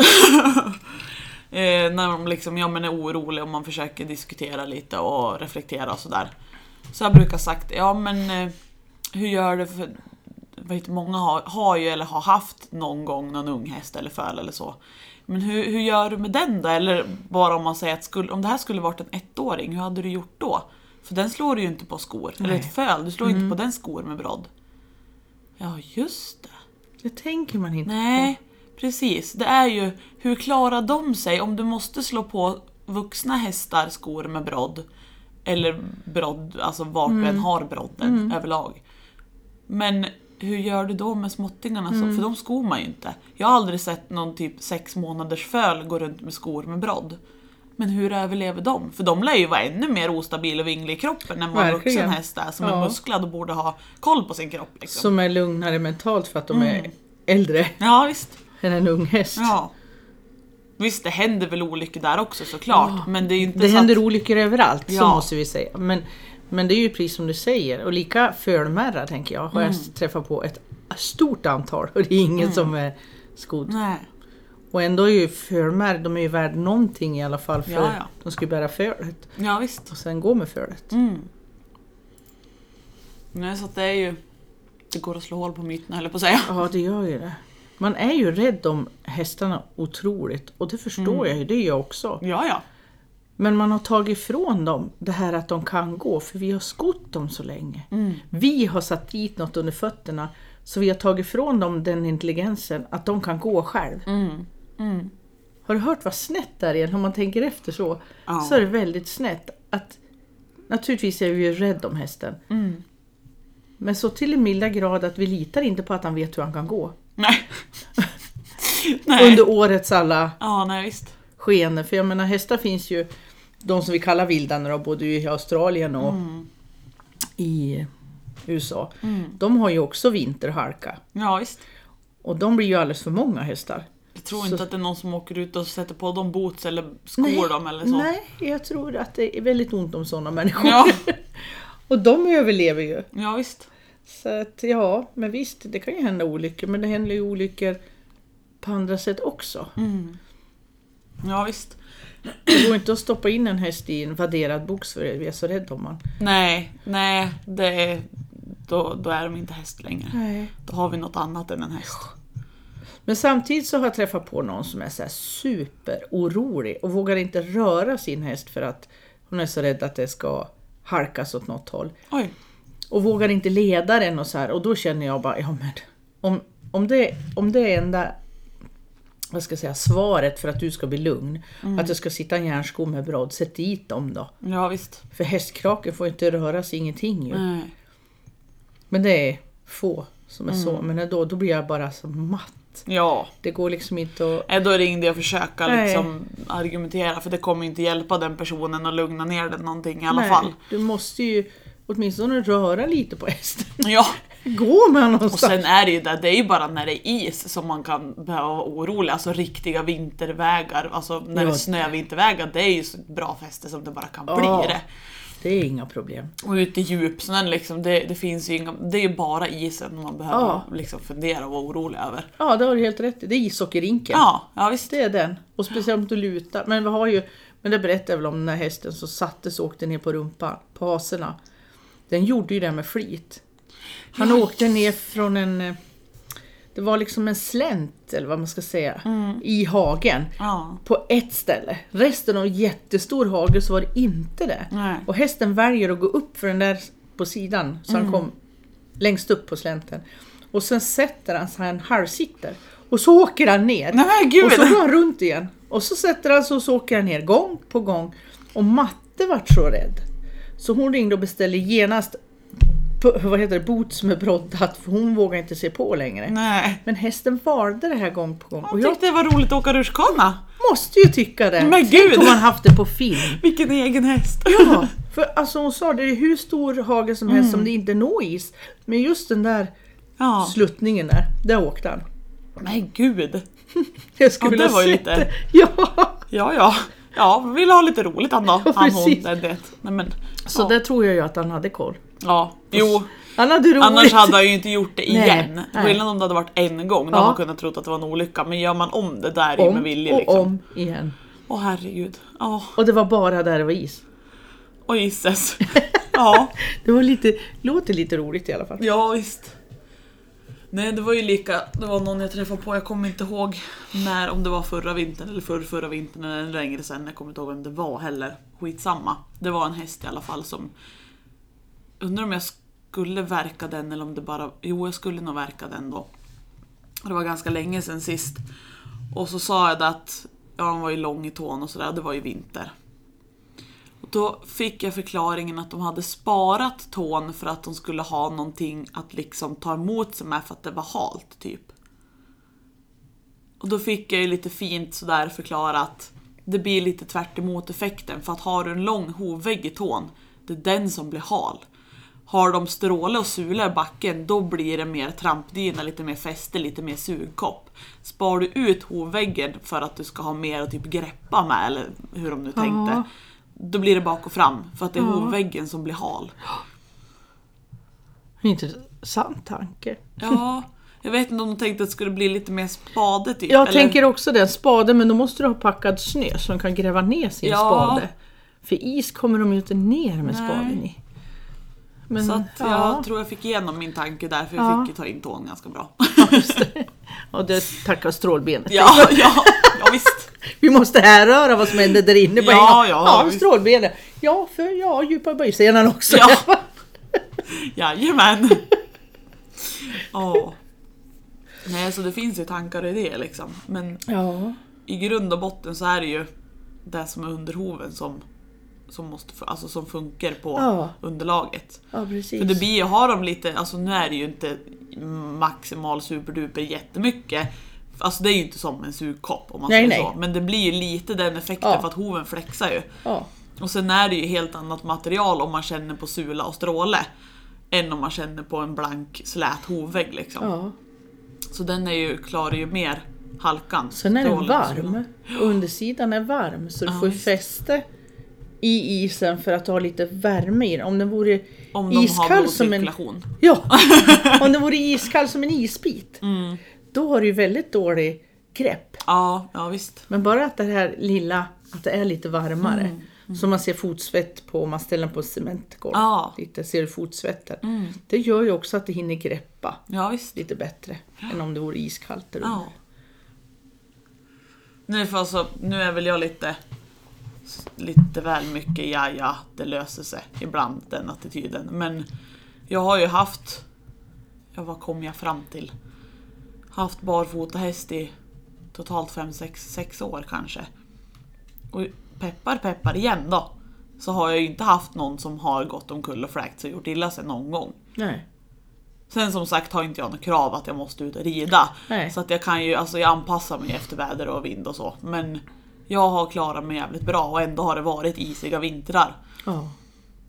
Speaker 1: eh, när de liksom, ja men är oroliga och man försöker diskutera lite och reflektera och sådär. Så jag brukar sagt, ja men eh, hur gör du för vad heter, många har, har ju eller har haft någon gång någon ung häst eller föl eller så. Men hur, hur gör du med den då? Eller bara om man säger att skulle, om det här skulle varit en ettåring, hur hade du gjort då? För den slår du ju inte på skor. Eller ett föl, du slår ju inte på den skor med brodd. Ja, just det.
Speaker 2: Det tänker man inte.
Speaker 1: Nej, precis. Det är ju, hur klarar de sig om du måste slå på vuxna hästar skor med brodd? Eller brodd, alltså vart du
Speaker 2: Mm.
Speaker 1: än har brodden överlag. Men hur gör du då med småttingarna? så?
Speaker 2: Mm.
Speaker 1: För de skor man ju inte. Jag har aldrig sett någon typ sex månaders föl gå runt med skor med brodd. Men hur överlever de? För de lär ju vara ännu mer ostabil och vinglig i kroppen än vad en
Speaker 2: Verkligen.
Speaker 1: vuxen häst är som är
Speaker 2: Ja.
Speaker 1: musklad och borde ha koll på sin kropp. Liksom.
Speaker 2: Som är lugnare mentalt för att de är äldre
Speaker 1: Ja visst.
Speaker 2: än en ung häst.
Speaker 1: Mm. Ja. Visst, det händer väl olyckor där också såklart. Men det är ju inte
Speaker 2: Det
Speaker 1: så
Speaker 2: händer
Speaker 1: att...
Speaker 2: olyckor överallt, så
Speaker 1: Ja.
Speaker 2: måste vi säga. Men, men det är ju precis som du säger. Och lika fölmärrar tänker jag har
Speaker 1: Mm.
Speaker 2: jag träffat på ett stort antal och det är ingen som är skodd.
Speaker 1: Nej.
Speaker 2: Och ändå är ju fölmärr, de är ju värd någonting i alla fall för
Speaker 1: Ja, ja.
Speaker 2: de ska ju bära fölet
Speaker 1: Ja visst.
Speaker 2: och sen gå med fölet.
Speaker 1: Nej, så att det är ju... Det går att slå hål på myterna höll jag på att säga.
Speaker 2: Ja, det gör ju det. Man är ju rädd om hästarna otroligt och det förstår
Speaker 1: Mm.
Speaker 2: jag ju, det är jag också.
Speaker 1: Ja, ja.
Speaker 2: Men man har tagit ifrån dem det här att de kan gå för vi har skott dem så länge.
Speaker 1: Mm.
Speaker 2: Vi har satt dit något under fötterna så vi har tagit ifrån dem den intelligensen att de kan gå själv.
Speaker 1: Mm.
Speaker 2: Har du hört vad snett det är igen? Om man tänker efter så,
Speaker 1: Ja.
Speaker 2: så är det
Speaker 1: Mm.
Speaker 2: väldigt snett. Att, naturligtvis är vi ju rädda om hästen. Men så till en milda grad att vi litar inte på att han vet hur han kan gå.
Speaker 1: Nej. nej.
Speaker 2: Under årets alla
Speaker 1: Ja, nej visst.
Speaker 2: skeenden. För jag menar hästar finns ju, de som vi kallar vilda nu då, både i Australien och i USA. De har ju också vinterhalka.
Speaker 1: Ja, visst.
Speaker 2: Och de blir ju alldeles för många hästar.
Speaker 1: Jag tror
Speaker 2: Så-
Speaker 1: inte att det är någon som åker ut och sätter på dem boots eller skor dem eller så.
Speaker 2: Nej, jag tror att det är väldigt ont om sådana människor.
Speaker 1: Ja.
Speaker 2: och de överlever ju.
Speaker 1: ja, visst.
Speaker 2: Så att ja, men visst, det kan ju hända olyckor. Men det händer ju olyckor på andra sätt också.
Speaker 1: Ja, visst.
Speaker 2: Det går inte att stoppa in en häst i en vadderad box för vi är så rädda om honom.
Speaker 1: Nej, nej. Det är, då, då är de inte häst längre.
Speaker 2: Nej.
Speaker 1: Då har vi något annat än en häst.
Speaker 2: Men samtidigt så har jag träffat på någon som är så här superorolig och vågar inte röra sin häst för att hon är så rädd att det ska harkas åt något håll.
Speaker 1: Oj.
Speaker 2: Och vågar inte leda den och så här. Och då känner jag bara, ja men om, om, det, om det är enda vad ska jag säga, svaret för att du ska bli lugn, att du ska sitta i en järnsko med brad, sätt dit dem då.
Speaker 1: Ja, visst.
Speaker 2: För hästkraken får ju inte röra sig, ingenting ju.
Speaker 1: Nej.
Speaker 2: Men det är få som är så. Men ändå, då blir jag bara så matt.
Speaker 1: Ja.
Speaker 2: Det går liksom inte att...
Speaker 1: Nej, Då ringde jag och försöka
Speaker 2: Nej.
Speaker 1: liksom argumentera för det kommer inte hjälpa den personen att lugna ner den någonting i alla
Speaker 2: Nej,
Speaker 1: fall.
Speaker 2: Du måste ju åtminstone röra lite på hästen.
Speaker 1: Ja.
Speaker 2: Gå med någonstans.
Speaker 1: Och sen är det ju det, det är ju bara när det är is som man kan behöva vara orolig. Alltså riktiga vintervägar, alltså när det
Speaker 2: Ja.
Speaker 1: är snövintervägar, det är ju så bra fäste som det bara kan bli
Speaker 2: Ja.
Speaker 1: det.
Speaker 2: Det är inga problem.
Speaker 1: Och ute i djupsnön liksom, det, det finns ju inga, det är ju bara isen man behöver
Speaker 2: Ja.
Speaker 1: liksom fundera och vara orolig över.
Speaker 2: Ja, det har du helt rätt i. Det är ishockeyrinken.
Speaker 1: Ja, ja visst.
Speaker 2: Det är den. Och speciellt om du lutar. Men vi har ju, men det berättade jag väl om den här hästen som sattes och åkte ner på rumpan, på haserna. Den gjorde ju det med flit. Han åkte ner från en, eh, det var liksom en slänt eller vad man ska säga,
Speaker 1: Mm.
Speaker 2: i hagen.
Speaker 1: Ja.
Speaker 2: På ett ställe. Resten av en jättestor hage så var det inte det.
Speaker 1: Nej.
Speaker 2: Och hästen väljer att gå upp för den där på sidan så
Speaker 1: Mm.
Speaker 2: han kom längst upp på slänten. Och sen sätter han sig i en halvsitter. Och så åker han ner.
Speaker 1: Nej men gud!
Speaker 2: Och så går han runt igen. Och så sätter han sig och så åker han ner gång på gång. Och matte vart så rädd. Så hon ringde och beställde genast på, vad heter det, boots med broddat för hon vågar inte se på längre.
Speaker 1: Nej.
Speaker 2: Men hästen valde det här gång på gång. Och
Speaker 1: Jag
Speaker 2: jag
Speaker 1: tyckte det var roligt att åka rutschkana.
Speaker 2: måste ju tycka det.
Speaker 1: Men
Speaker 2: Tänk
Speaker 1: gud!
Speaker 2: om man haft det på film.
Speaker 1: Vilken egen häst!
Speaker 2: Ja, för alltså hon sa det är hur stor hage som helst om det inte är nå is. Men just den där
Speaker 1: Ja.
Speaker 2: sluttningen där, där åkte han.
Speaker 1: Men gud!
Speaker 2: Jag skulle
Speaker 1: Ja, det
Speaker 2: vilja
Speaker 1: var ju
Speaker 2: sett
Speaker 1: lite-
Speaker 2: det. Ja.
Speaker 1: Ja, ja. Ja, vi vill ha lite roligt han då.
Speaker 2: Ja,
Speaker 1: Han, hon,
Speaker 2: precis.
Speaker 1: den, det. Nej men.
Speaker 2: Så
Speaker 1: ja.
Speaker 2: där tror jag ju att han hade koll.
Speaker 1: Ja, jo.
Speaker 2: Han hade roligt.
Speaker 1: Annars hade han ju inte gjort det
Speaker 2: Nej,
Speaker 1: igen.
Speaker 2: nej.
Speaker 1: Skillnaden om det hade varit en gång, då
Speaker 2: Ja.
Speaker 1: hade man kunnat tro att det var en olycka. Men gör man om det där är ju
Speaker 2: om
Speaker 1: med vilje
Speaker 2: och
Speaker 1: liksom.
Speaker 2: om igen.
Speaker 1: Åh herregud. Ja,
Speaker 2: Och det var bara där det var is.
Speaker 1: och gisses. Ja,
Speaker 2: Det var lite, låter lite roligt i alla fall.
Speaker 1: ja visst. Nej det var ju lika, det var någon jag träffade på, jag kommer inte ihåg när, om det var förra vintern eller förr, förra vintern eller längre sedan. Jag kommer inte ihåg vem det var heller. Skitsamma. Det var en häst i alla fall som Undrar om jag skulle verka den eller om det bara... Jo, jag skulle nog verka den då. Det var ganska länge sedan sist. Och så sa jag det att ja, han var ju lång i tån och sådär, det var ju vinter. Och då fick jag förklaringen att de hade sparat tån för att de skulle ha någonting att liksom ta emot sig med för att det var halt, typ. Och då fick jag ju lite fint sådär förklarat det blir lite tvärt emot effekten för att har du en lång hovvägg i tån, det är den som blir hal. Har de stråle och sula i backen, då blir det mer trampdyna, lite mer fäste, lite mer sugkopp. Spar du ut hovväggen för att du ska ha mer att typ greppa med, eller hur de nu tänkte,
Speaker 2: Ja.
Speaker 1: då blir det bak och fram för att det är hovväggen som blir hal.
Speaker 2: Intressant tanke.
Speaker 1: Ja, jag vet inte om de tänkte att det skulle bli lite mer spade typ.
Speaker 2: Jag
Speaker 1: eller-
Speaker 2: tänker också den, spade, men då måste du ha packad snö som kan gräva ner sin
Speaker 1: Ja.
Speaker 2: spade. För is kommer de ju inte ner med spaden i. Men,
Speaker 1: Så att jag
Speaker 2: Mm. ja,
Speaker 1: tror jag fick igenom min tanke där för jag
Speaker 2: Ja.
Speaker 1: fick ju ta in tån ganska bra.
Speaker 2: just det. Och det tackar strålbenet.
Speaker 1: Ja, ja, ja visst.
Speaker 2: Vi måste härröra vad som hände där inne på
Speaker 1: Ja,
Speaker 2: en gång.
Speaker 1: ja,
Speaker 2: ja
Speaker 1: visst.
Speaker 2: strålbenet. Ja, för ja, djupa böjsenan också.
Speaker 1: Ja. Jajamän. Ja. Nej, så det finns ju tankar och idéer liksom. Men
Speaker 2: ja.
Speaker 1: i grund och botten så är det ju det som är under hoven som som, måste, fu- alltså, som funkar på
Speaker 2: Ja.
Speaker 1: underlaget.
Speaker 2: Ja, precis.
Speaker 1: För det blir ju, har de lite, alltså nu är det ju inte maximal superduper jättemycket. Alltså det är ju inte som en sugkopp om man
Speaker 2: Nej,
Speaker 1: säger
Speaker 2: nej.
Speaker 1: så. Men det blir ju lite den effekten
Speaker 2: Ja.
Speaker 1: för att hoven flexar ju.
Speaker 2: Ja.
Speaker 1: Och sen är det ju helt annat material om man känner på sula och stråle. Än om man känner på en blank slät hovvägg liksom.
Speaker 2: ja.
Speaker 1: Så den är ju, klarar ju mer halkan.
Speaker 2: Sen är den
Speaker 1: strålen och sulan.
Speaker 2: varm. Undersidan är varm så du
Speaker 1: Ja,
Speaker 2: får ju
Speaker 1: visst.
Speaker 2: fäste i isen för att ha lite värme i den. Om den vore
Speaker 1: Om de har
Speaker 2: iskall som en...
Speaker 1: blodcirkulation.
Speaker 2: Ja! Om den vore iskall som en isbit.
Speaker 1: Mm.
Speaker 2: Då har du ju väldigt dålig grepp.
Speaker 1: Ja, ja visst.
Speaker 2: Men bara att det här lilla, att det är lite varmare.
Speaker 1: Mm,
Speaker 2: Så man ser fotsvett på, om man ställer den på cementgolv.
Speaker 1: Ja. Mm.
Speaker 2: Lite, ser du fotsvetten. Det gör ju också att det hinner greppa
Speaker 1: Ja, visst.
Speaker 2: lite bättre än om det vore iskallt där
Speaker 1: Ja.
Speaker 2: under.
Speaker 1: Nu, får alltså, nu är väl jag lite lite väl mycket ja ja, det löser sig ibland den attityden. Men jag har ju haft, ja vad kom jag fram till? Haft barfota häst i totalt 5-6 år kanske. Och peppar peppar igen då. Så har jag ju inte haft någon som har gått omkull och fläkt sig och gjort illa sig någon gång.
Speaker 2: Nej.
Speaker 1: Sen som sagt har inte jag något krav att jag måste ut och rida.
Speaker 2: Nej.
Speaker 1: Så att jag kan ju, alltså jag anpassar mig efter väder och vind och så. Men jag har klarat mig jävligt bra och ändå har det varit isiga vintrar.
Speaker 2: Ja.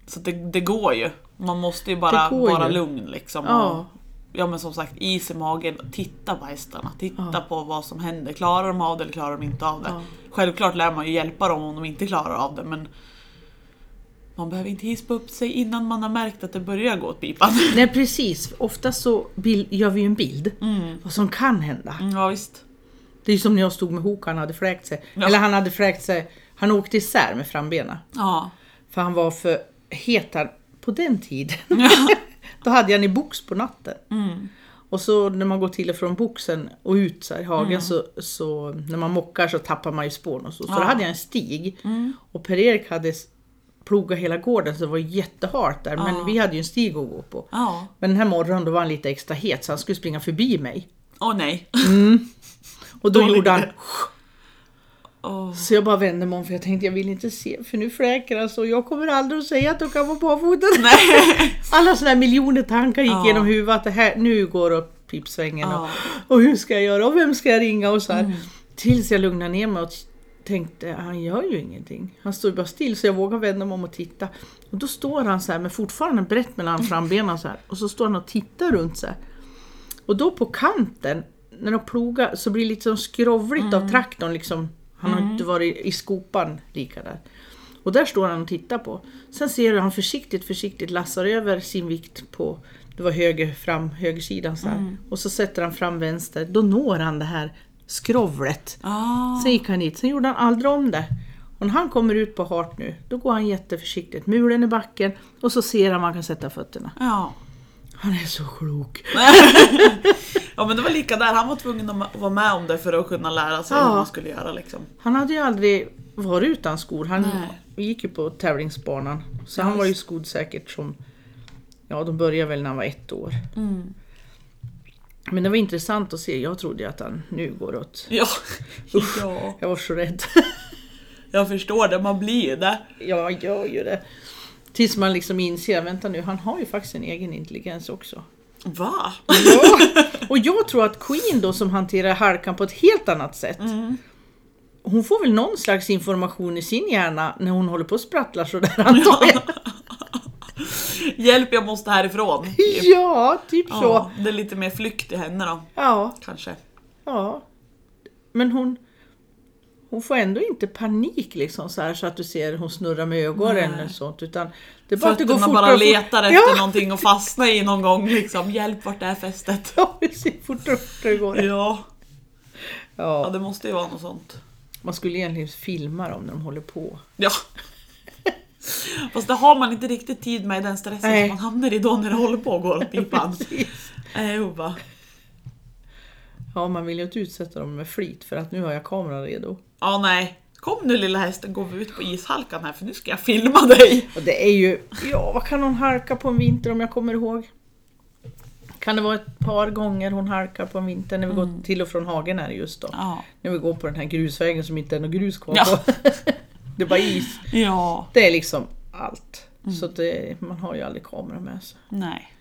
Speaker 1: Så att det, det går ju. Man måste ju bara
Speaker 2: Det går
Speaker 1: vara
Speaker 2: ju.
Speaker 1: lugn liksom.
Speaker 2: Ja.
Speaker 1: Och, ja men som sagt, is i magen. Titta på hästarna. Titta på vad som händer. Klarar de av det eller klarar de inte av det?
Speaker 2: Ja.
Speaker 1: Självklart lär man ju hjälpa dem om de inte klarar av det men man behöver inte hispa upp sig innan man har märkt att det börjar gå åt pipan.
Speaker 2: Nej precis, ofta så bil- gör vi ju en bild vad som kan hända.
Speaker 1: Mm, Ja, visst.
Speaker 2: Det är ju som när jag stod med Hoka, han hade fläkt sig.
Speaker 1: Ja.
Speaker 2: Eller han hade fläkt sig, han åkte isär med frambenen.
Speaker 1: Ja.
Speaker 2: För han var för het han- på den tiden. Då hade jag han i box på natten. Och så när man går till och från boxen och ut så här i hagen så, så när man mockar så tappar man ju spåren och så. Så då hade jag en stig och Per-Erik hade s- plogat hela gården så det var jättehalt där men vi hade ju en stig att gå på.
Speaker 1: Ja.
Speaker 2: Men den här morgonen då var han lite extra het så han skulle springa förbi mig.
Speaker 1: Åh nej.
Speaker 2: Och då
Speaker 1: Dålig
Speaker 2: gjorde han
Speaker 1: idé. Åh.
Speaker 2: Så jag bara vände mig om för jag tänkte jag vill inte se för nu fläker han så jag kommer aldrig att säga att de kan vara barfota.
Speaker 1: Nej.
Speaker 2: Alla sådana här miljoner tankar gick
Speaker 1: Ja.
Speaker 2: genom huvudet att det här, nu går det upp pipsvängen
Speaker 1: Ja. Mm.
Speaker 2: och, och hur ska jag göra och vem ska jag ringa och så här. Tills jag lugnade ner mig och tänkte han gör ju ingenting. Han står ju bara still så jag vågar vända mig om och titta. Och då står han så här med fortfarande brett mellan frambenen så här och så står han och tittar runt så här. Och då på kanten, när de plogar, så blir det lite som skrovligt av traktorn. Liksom. Han har inte varit i skopan lika där. Och där står han och tittar på. Sen ser du han försiktigt, försiktigt lassar över sin vikt på det var höger fram, högersidan så här. Och så sätter han fram vänster. Då når han det här skrovlet.
Speaker 1: Ah.
Speaker 2: Sen gick han hit, sen gjorde han aldrig om det. Och när han kommer ut på hart nu, då går han jätteförsiktigt. Mulen i backen och så ser han var han kan sätta fötterna.
Speaker 1: Ja.
Speaker 2: Han är så klok.
Speaker 1: ja men det var lika där, han var tvungen att ma- vara med om det för att kunna lära sig
Speaker 2: Ja.
Speaker 1: hur man skulle göra liksom.
Speaker 2: Han hade ju aldrig varit utan skor. Han
Speaker 1: Nej.
Speaker 2: gick ju på tävlingsbanan. Så han var ju skodd säkert som... Ja, de började väl när han var ett år.
Speaker 1: Mm.
Speaker 2: Men det var intressant att se. Jag trodde ju att han nu går åt...
Speaker 1: Ja. ja.
Speaker 2: Jag var så rädd.
Speaker 1: Jag förstår det, man blir ju det.
Speaker 2: jag gör ju det. Tills man liksom inser, vänta nu, han har ju faktiskt en egen intelligens också.
Speaker 1: Va?
Speaker 2: Ja. Och jag tror att Queen då som hanterar halkan på ett helt annat sätt.
Speaker 1: Mm.
Speaker 2: Hon får väl någon slags information i sin hjärna när hon håller på och sprattlar sådär antar jag.
Speaker 1: Hjälp jag måste härifrån.
Speaker 2: Ja, typ så.
Speaker 1: Ja, det är lite mer flykt i henne då,
Speaker 2: Ja,
Speaker 1: kanske.
Speaker 2: ja. Men hon, hon får ändå inte panik liksom så här så att du ser hon snurrar med ögonen eller sånt utan det är bara att det går
Speaker 1: Fötterna
Speaker 2: fortare
Speaker 1: bara
Speaker 2: och fort-
Speaker 1: letar efter
Speaker 2: ja,
Speaker 1: någonting och fastnar i någon gång liksom. Hjälp, vart är fästet?
Speaker 2: Ja, precis. Fortare och fortare går det.
Speaker 1: Ja. ja,
Speaker 2: Ja,
Speaker 1: det måste ju vara något sånt.
Speaker 2: man skulle egentligen filma dem när de håller på.
Speaker 1: Ja. Fast det har man inte riktigt tid med i den stressen
Speaker 2: Nej.
Speaker 1: som man hamnar i då när det håller på att gå åt pipan. Eh, Nej, jo, va.
Speaker 2: Ja, man vill ju inte utsätta dem med flit för att nu har jag kameran redo.
Speaker 1: Ja, nej. Kom nu lilla hästen, går vi ut på ishalkan här för nu ska jag filma dig.
Speaker 2: Och det är ju, ja vad kan hon harka på en vinter om jag kommer ihåg? Kan det vara ett par gånger hon harkar på en vinter när vi går till och från hagen här just då?
Speaker 1: Ja.
Speaker 2: När vi går på den här grusvägen som inte är något grus kvar
Speaker 1: Ja.
Speaker 2: på. Det är bara is.
Speaker 1: Ja,
Speaker 2: Det är liksom allt. Så det, man har ju aldrig kamera med sig.
Speaker 1: nej,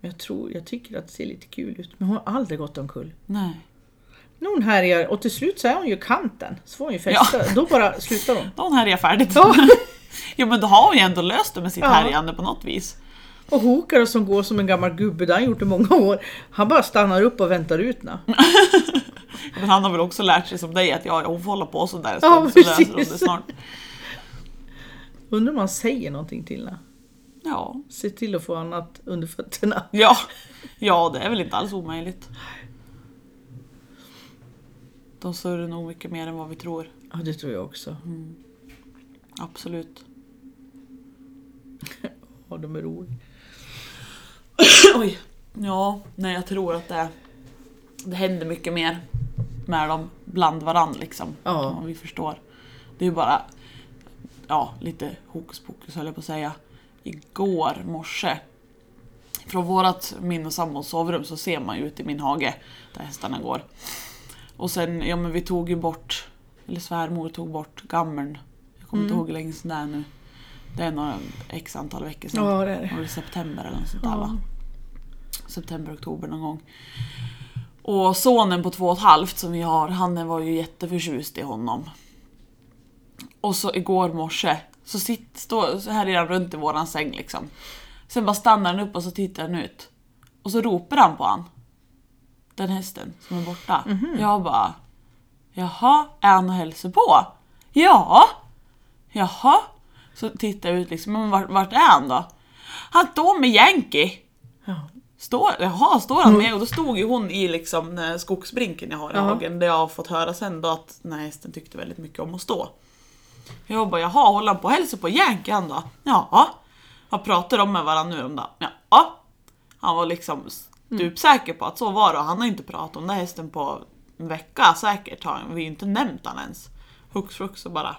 Speaker 2: Men jag, tror, jag tycker att det ser lite kul ut. Men hon har aldrig gått omkull.
Speaker 1: nej.
Speaker 2: Nu hon härjar och till slut så är hon ju kanten. Så får hon ju fästa. Då bara slutar hon.
Speaker 1: Då har hon härjat färdigt. Ja. men då har hon ju ändå löst det med sitt
Speaker 2: Ja.
Speaker 1: härjande på något vis.
Speaker 2: Och Hokar som går som en gammal gubbe, det har han gjort i många år. Han bara stannar upp och väntar ut när.
Speaker 1: Men han har väl också lärt sig som dig att ja, hon får hålla på sådär en
Speaker 2: Ja,
Speaker 1: stund så löser hon det
Speaker 2: precis.
Speaker 1: snart.
Speaker 2: Undrar om han säger någonting till när.
Speaker 1: Ja.
Speaker 2: Se till att få annat under fötterna.
Speaker 1: Ja. ja, det är väl inte alls omöjligt. De surrar nog mycket mer än vad vi tror.
Speaker 2: Ja, det tror jag också.
Speaker 1: Absolut.
Speaker 2: Ja, de är roliga.
Speaker 1: Oj. Ja, nej jag tror att det, det händer mycket mer med dem bland varandra liksom.
Speaker 2: Ja.
Speaker 1: Om vi förstår. Det är ju bara ja, lite hokus pokus höll jag på att säga. Igår morse från vårat, min och sambons sovrum så ser man ju ut i min hage där hästarna går. Och sen, ja men vi tog ju bort, eller svärmor tog bort gammeln. Jag kommer
Speaker 2: Mm.
Speaker 1: inte ihåg hur länge sedan det är nu. Det är några x antal veckor sedan.
Speaker 2: Ja, det är det.
Speaker 1: Var det september eller något sånt där va? September, oktober någon gång. Och sonen på två och ett halvt som vi har, han var ju jätteförtjust i honom. Och så igår morse så sitt, stå, så här är han runt i våran säng liksom. Sen bara stannar han upp och så tittar han ut. Och så ropar han på han. Den hästen som är borta. Jag bara Jaha, är han och hälsar på? Ja! Jaha? Så tittar jag ut liksom, men vart, vart är han då? Han står med Yankee!
Speaker 2: Ja.
Speaker 1: Står, jaha, står han med? Och då stod ju hon i liksom eh, skogsbrinken jag har i
Speaker 2: Ja.
Speaker 1: hagen. Där jag har fått höra sen då att den här hästen tyckte väldigt mycket om att stå. Jag bara, jaha, håller han på och hälsar på Yankee han då? Ja. Vad pratar de med varandra nu om då? Ja. Han var liksom stupsäker på att så var det och han har inte pratat om den här hästen på en vecka säkert. Har han. Vi har ju inte nämnt han ens. Hux flux så bara.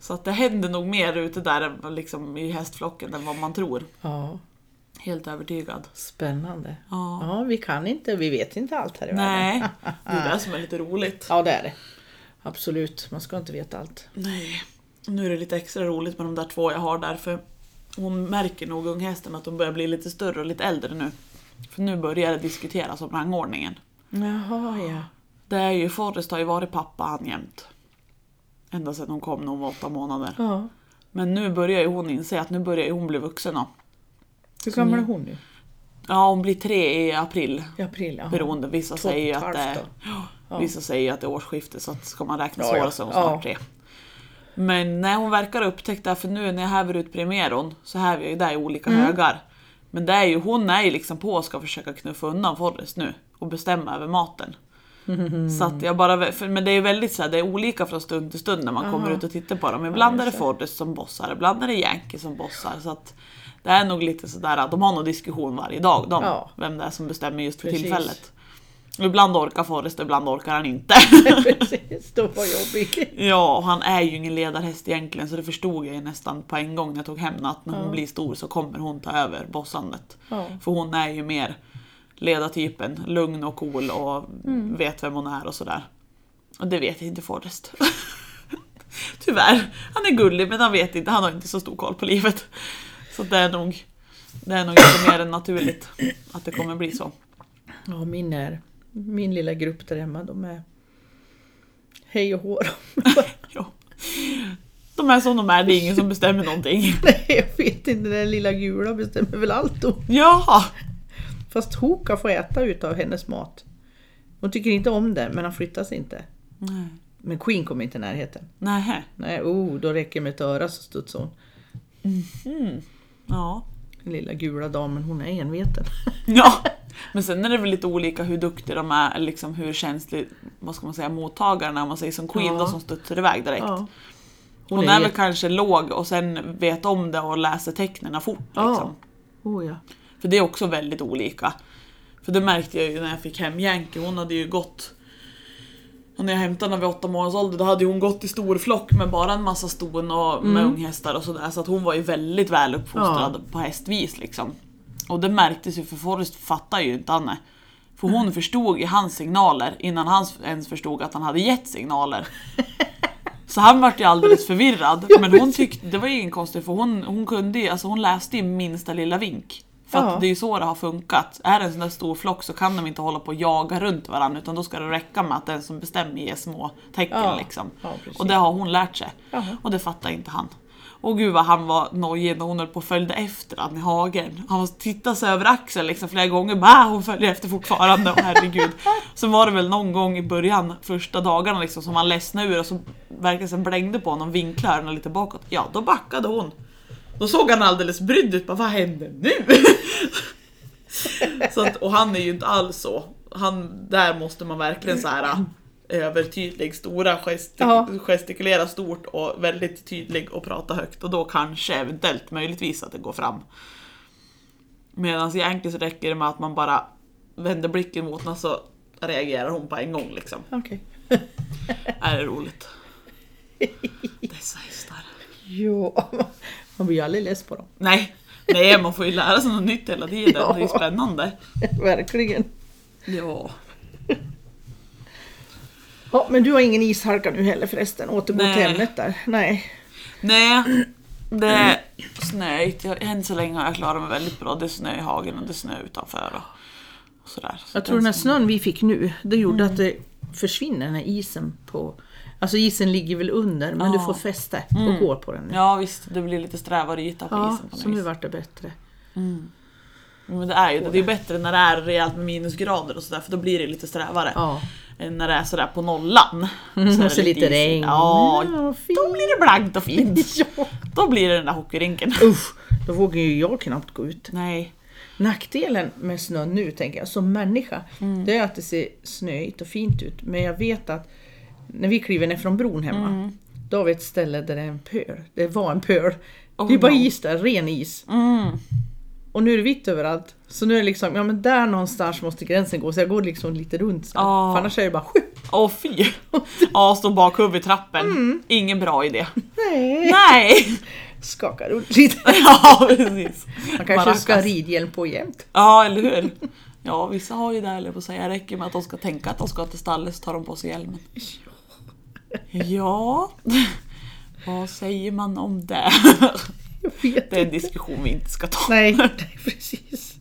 Speaker 1: Så att det händer nog mer ute där än liksom i hästflocken än vad man tror.
Speaker 2: ja,
Speaker 1: Helt övertygad.
Speaker 2: spännande.
Speaker 1: Ja.
Speaker 2: Ja, vi kan inte, vi vet inte allt här i världen.
Speaker 1: Nej, det är det som är lite roligt.
Speaker 2: Ja, det är det. Absolut, man ska inte veta allt.
Speaker 1: Nej. Nu är det lite extra roligt med de där två jag har där för hon märker nog unghästen att de börjar bli lite större och lite äldre nu. För nu börjar det diskuteras om rangordningen.
Speaker 2: Jaha, ja.
Speaker 1: Det är ju Forrest har ju varit pappa han jämt. Ända sedan hon kom när hon var åtta månader.
Speaker 2: ja.
Speaker 1: Men nu börjar ju hon inse att nu börjar ju hon bli vuxen då.
Speaker 2: Hur gammal är hon nu?
Speaker 1: Ja hon blir tre i april.
Speaker 2: I april? Jaha.
Speaker 1: Beroende, vissa
Speaker 2: Två och
Speaker 1: säger ju
Speaker 2: ett
Speaker 1: att det är,
Speaker 2: halvt
Speaker 1: ja, vissa säger ju att det är årsskifte så att ska man räkna
Speaker 2: Ja,
Speaker 1: så
Speaker 2: ja.
Speaker 1: ja. så är hon snart
Speaker 2: Ja.
Speaker 1: tre. Men när hon verkar ha upptäckt det, här, för nu när jag häver ut primeron så häver jag ju där i olika
Speaker 2: Mm.
Speaker 1: högar. Men det är ju, hon är ju liksom på och ska försöka knuffa undan Forrest nu och bestämma över maten. Så att jag bara, för, men det är ju väldigt så här, det är olika från stund till stund när man kommer ut och tittar på dem. Ibland är det Forrest som bossar, ibland är det Yankee som bossar. Så att det är nog lite sådär att de har någon diskussion varje dag, de,
Speaker 2: Ja.
Speaker 1: vem det är som bestämmer just för
Speaker 2: Precis.
Speaker 1: tillfället. Och Ibland orkar Forrest och ibland orkar han inte.
Speaker 2: Precis, då var jobbig.
Speaker 1: ja, och han är ju ingen ledarhäst egentligen så det förstod jag ju nästan på en gång när jag tog hem att när hon blir stor så kommer hon ta över bossandet.
Speaker 2: Ja.
Speaker 1: För hon är ju mer ledartypen, lugn och cool och vet vem hon är och sådär. Och det vet inte Forrest. Tyvärr. Han är gullig men han vet inte, han har inte så stor koll på livet. Så det är nog, det är nog inte mer än naturligt att det kommer bli så.
Speaker 2: Ja, min är, min lilla grupp där hemma, de är hej och hår.
Speaker 1: Ja. De är som de är, det är ingen som bestämmer någonting.
Speaker 2: Nej, jag vet inte, den där lilla gula bestämmer väl allt då.
Speaker 1: Jaha!
Speaker 2: Fast Hoka får äta utav hennes mat. Hon tycker inte om det, men han flyttas inte.
Speaker 1: Nej.
Speaker 2: Men Queen kommer inte i närheten.
Speaker 1: Nähä.
Speaker 2: Nej, oh, då räcker det med ett öra så studsar hon.
Speaker 1: Ja.
Speaker 2: Den lilla gula damen, hon är enveten.
Speaker 1: ja. Men sen är det väl lite olika hur duktig de är, eller liksom hur känslig vad ska man säga, mottagaren är. Om man säger som Queen
Speaker 2: Ja.
Speaker 1: då, som studsar iväg direkt.
Speaker 2: Ja.
Speaker 1: Hon,
Speaker 2: Hon
Speaker 1: är,
Speaker 2: är
Speaker 1: väl
Speaker 2: jätte-
Speaker 1: kanske låg och sen vet om det och läser tecknen fort.
Speaker 2: Ja.
Speaker 1: Liksom.
Speaker 2: Oh, ja.
Speaker 1: För det är också väldigt olika. För det märkte jag ju när jag fick hem Yankee, hon hade ju gått och när jag hämtade henne vid åtta månaders ålder då hade ju hon gått i stor flock med bara en massa ston och med unghästar och sådär. Så att hon var ju väldigt väl uppfostrad på hästvis liksom. Och det märktes ju för Forrest fattar ju inte Anne. För hon förstod ju hans signaler innan han ens förstod att han hade gett signaler. Så han vart ju alldeles förvirrad. Men hon tyckte, det var ju ingen konstigt för hon, hon kunde ju, alltså hon läste ju minsta lilla vink. För att
Speaker 2: Ja.
Speaker 1: det är ju så det har funkat. Är det en sån där stor flock så kan de inte hålla på och jaga runt varandra utan då ska det räcka med att den som bestämmer ger små tecken
Speaker 2: Ja.
Speaker 1: liksom.
Speaker 2: Ja, precis.
Speaker 1: Och det har hon lärt sig.
Speaker 2: Jaha.
Speaker 1: Och det fattar inte han. Och gud vad han var nojig när hon höll på och följde efter han i hagen. Han tittade sig över axeln liksom flera gånger, bara hon följer efter fortfarande, och herregud. Så var det väl någon gång i början, första dagarna liksom, som han ledsnade ur och så verkade som blängde på honom, vinklade öronen lite bakåt. Ja, då backade hon. Då såg han alldeles brydd ut, bara vad händer nu? så att, och han är ju inte alls så. Han, där måste man verkligen så här äh, övertydlig, stora gestik
Speaker 2: Ja.
Speaker 1: gestikulera stort och väldigt tydlig och prata högt och då kanske eventuellt möjligtvis att det går fram. Medan egentligen så räcker det med att man bara vänder blicken mot henne så reagerar hon på en gång liksom.
Speaker 2: Okej.
Speaker 1: Är det roligt? Dessa hästar.
Speaker 2: Ja, man blir ju aldrig less på dem.
Speaker 1: Nej, nej man får ju lära sig något nytt hela tiden. Det är ju
Speaker 2: Ja.
Speaker 1: spännande.
Speaker 2: Verkligen.
Speaker 1: Ja.
Speaker 2: Ja, men du har ingen isharka nu heller förresten, återgå till
Speaker 1: Nej.
Speaker 2: ämnet där. Nej.
Speaker 1: Nej, det är snöigt. Jag- Än så länge har jag klarat mig väldigt bra. Det är snö i hagen och det är snö utanför. Och, och sådär. Så
Speaker 2: Jag tror den här snön vi fick nu, det gjorde att det försvinner den här isen på... Alltså isen ligger väl under, men du
Speaker 1: Ja.
Speaker 2: får fäste och går på den nu.
Speaker 1: Ja visst, det blir lite strävare yta på
Speaker 2: Mm. Ja,
Speaker 1: isen på
Speaker 2: så
Speaker 1: något
Speaker 2: nu
Speaker 1: vis.
Speaker 2: vart det bättre.
Speaker 1: Men det är ju det. Det är bättre när det är rejält med minusgrader och sådär för då blir det lite strävare.
Speaker 2: Ja.
Speaker 1: Än när det är sådär på nollan.
Speaker 2: Mm,
Speaker 1: är
Speaker 2: och så
Speaker 1: det
Speaker 2: Mm. lite
Speaker 1: isigt.
Speaker 2: regn.
Speaker 1: Ja,
Speaker 2: Ja, vad fint.
Speaker 1: då blir det blankt och fint.
Speaker 2: Ja.
Speaker 1: Då blir det den där hockeyrinken.
Speaker 2: Usch, då vågar ju jag knappt gå ut.
Speaker 1: Nej.
Speaker 2: Nackdelen med snö nu, tänker jag, som människa,
Speaker 1: Mm.
Speaker 2: det är att det ser snöigt och fint ut. Men jag vet att när vi kliver ner från bron hemma,
Speaker 1: Mm.
Speaker 2: då har vi ett ställe där det är en pöl. Det var en pöl. det är bara
Speaker 1: Oh, no.
Speaker 2: is där, ren is.
Speaker 1: Mm.
Speaker 2: Och nu är det vitt överallt. Så nu är det liksom, ja men där någonstans måste gränsen gå. Så jag går liksom lite runt. Så.
Speaker 1: Ja.
Speaker 2: För annars är det bara sju.
Speaker 1: Åh fy! Ja, stå bak huvudet i trappen.
Speaker 2: Mm.
Speaker 1: Ingen bra idé.
Speaker 2: Nej.
Speaker 1: Nej!
Speaker 2: Skakar runt lite.
Speaker 1: Ja precis.
Speaker 2: Man kanske ska ha
Speaker 1: Maracas.
Speaker 2: ridhjälm på jämt.
Speaker 1: Ja eller hur. Ja vissa har ju det höll jag på att säga. Räcker med att de ska tänka att de ska till stallet så tar de på sig hjälmen. Ja. Vad säger man om det?
Speaker 2: Jag vet
Speaker 1: Det är en
Speaker 2: inte.
Speaker 1: diskussion vi inte ska ta.
Speaker 2: Nej, nej precis.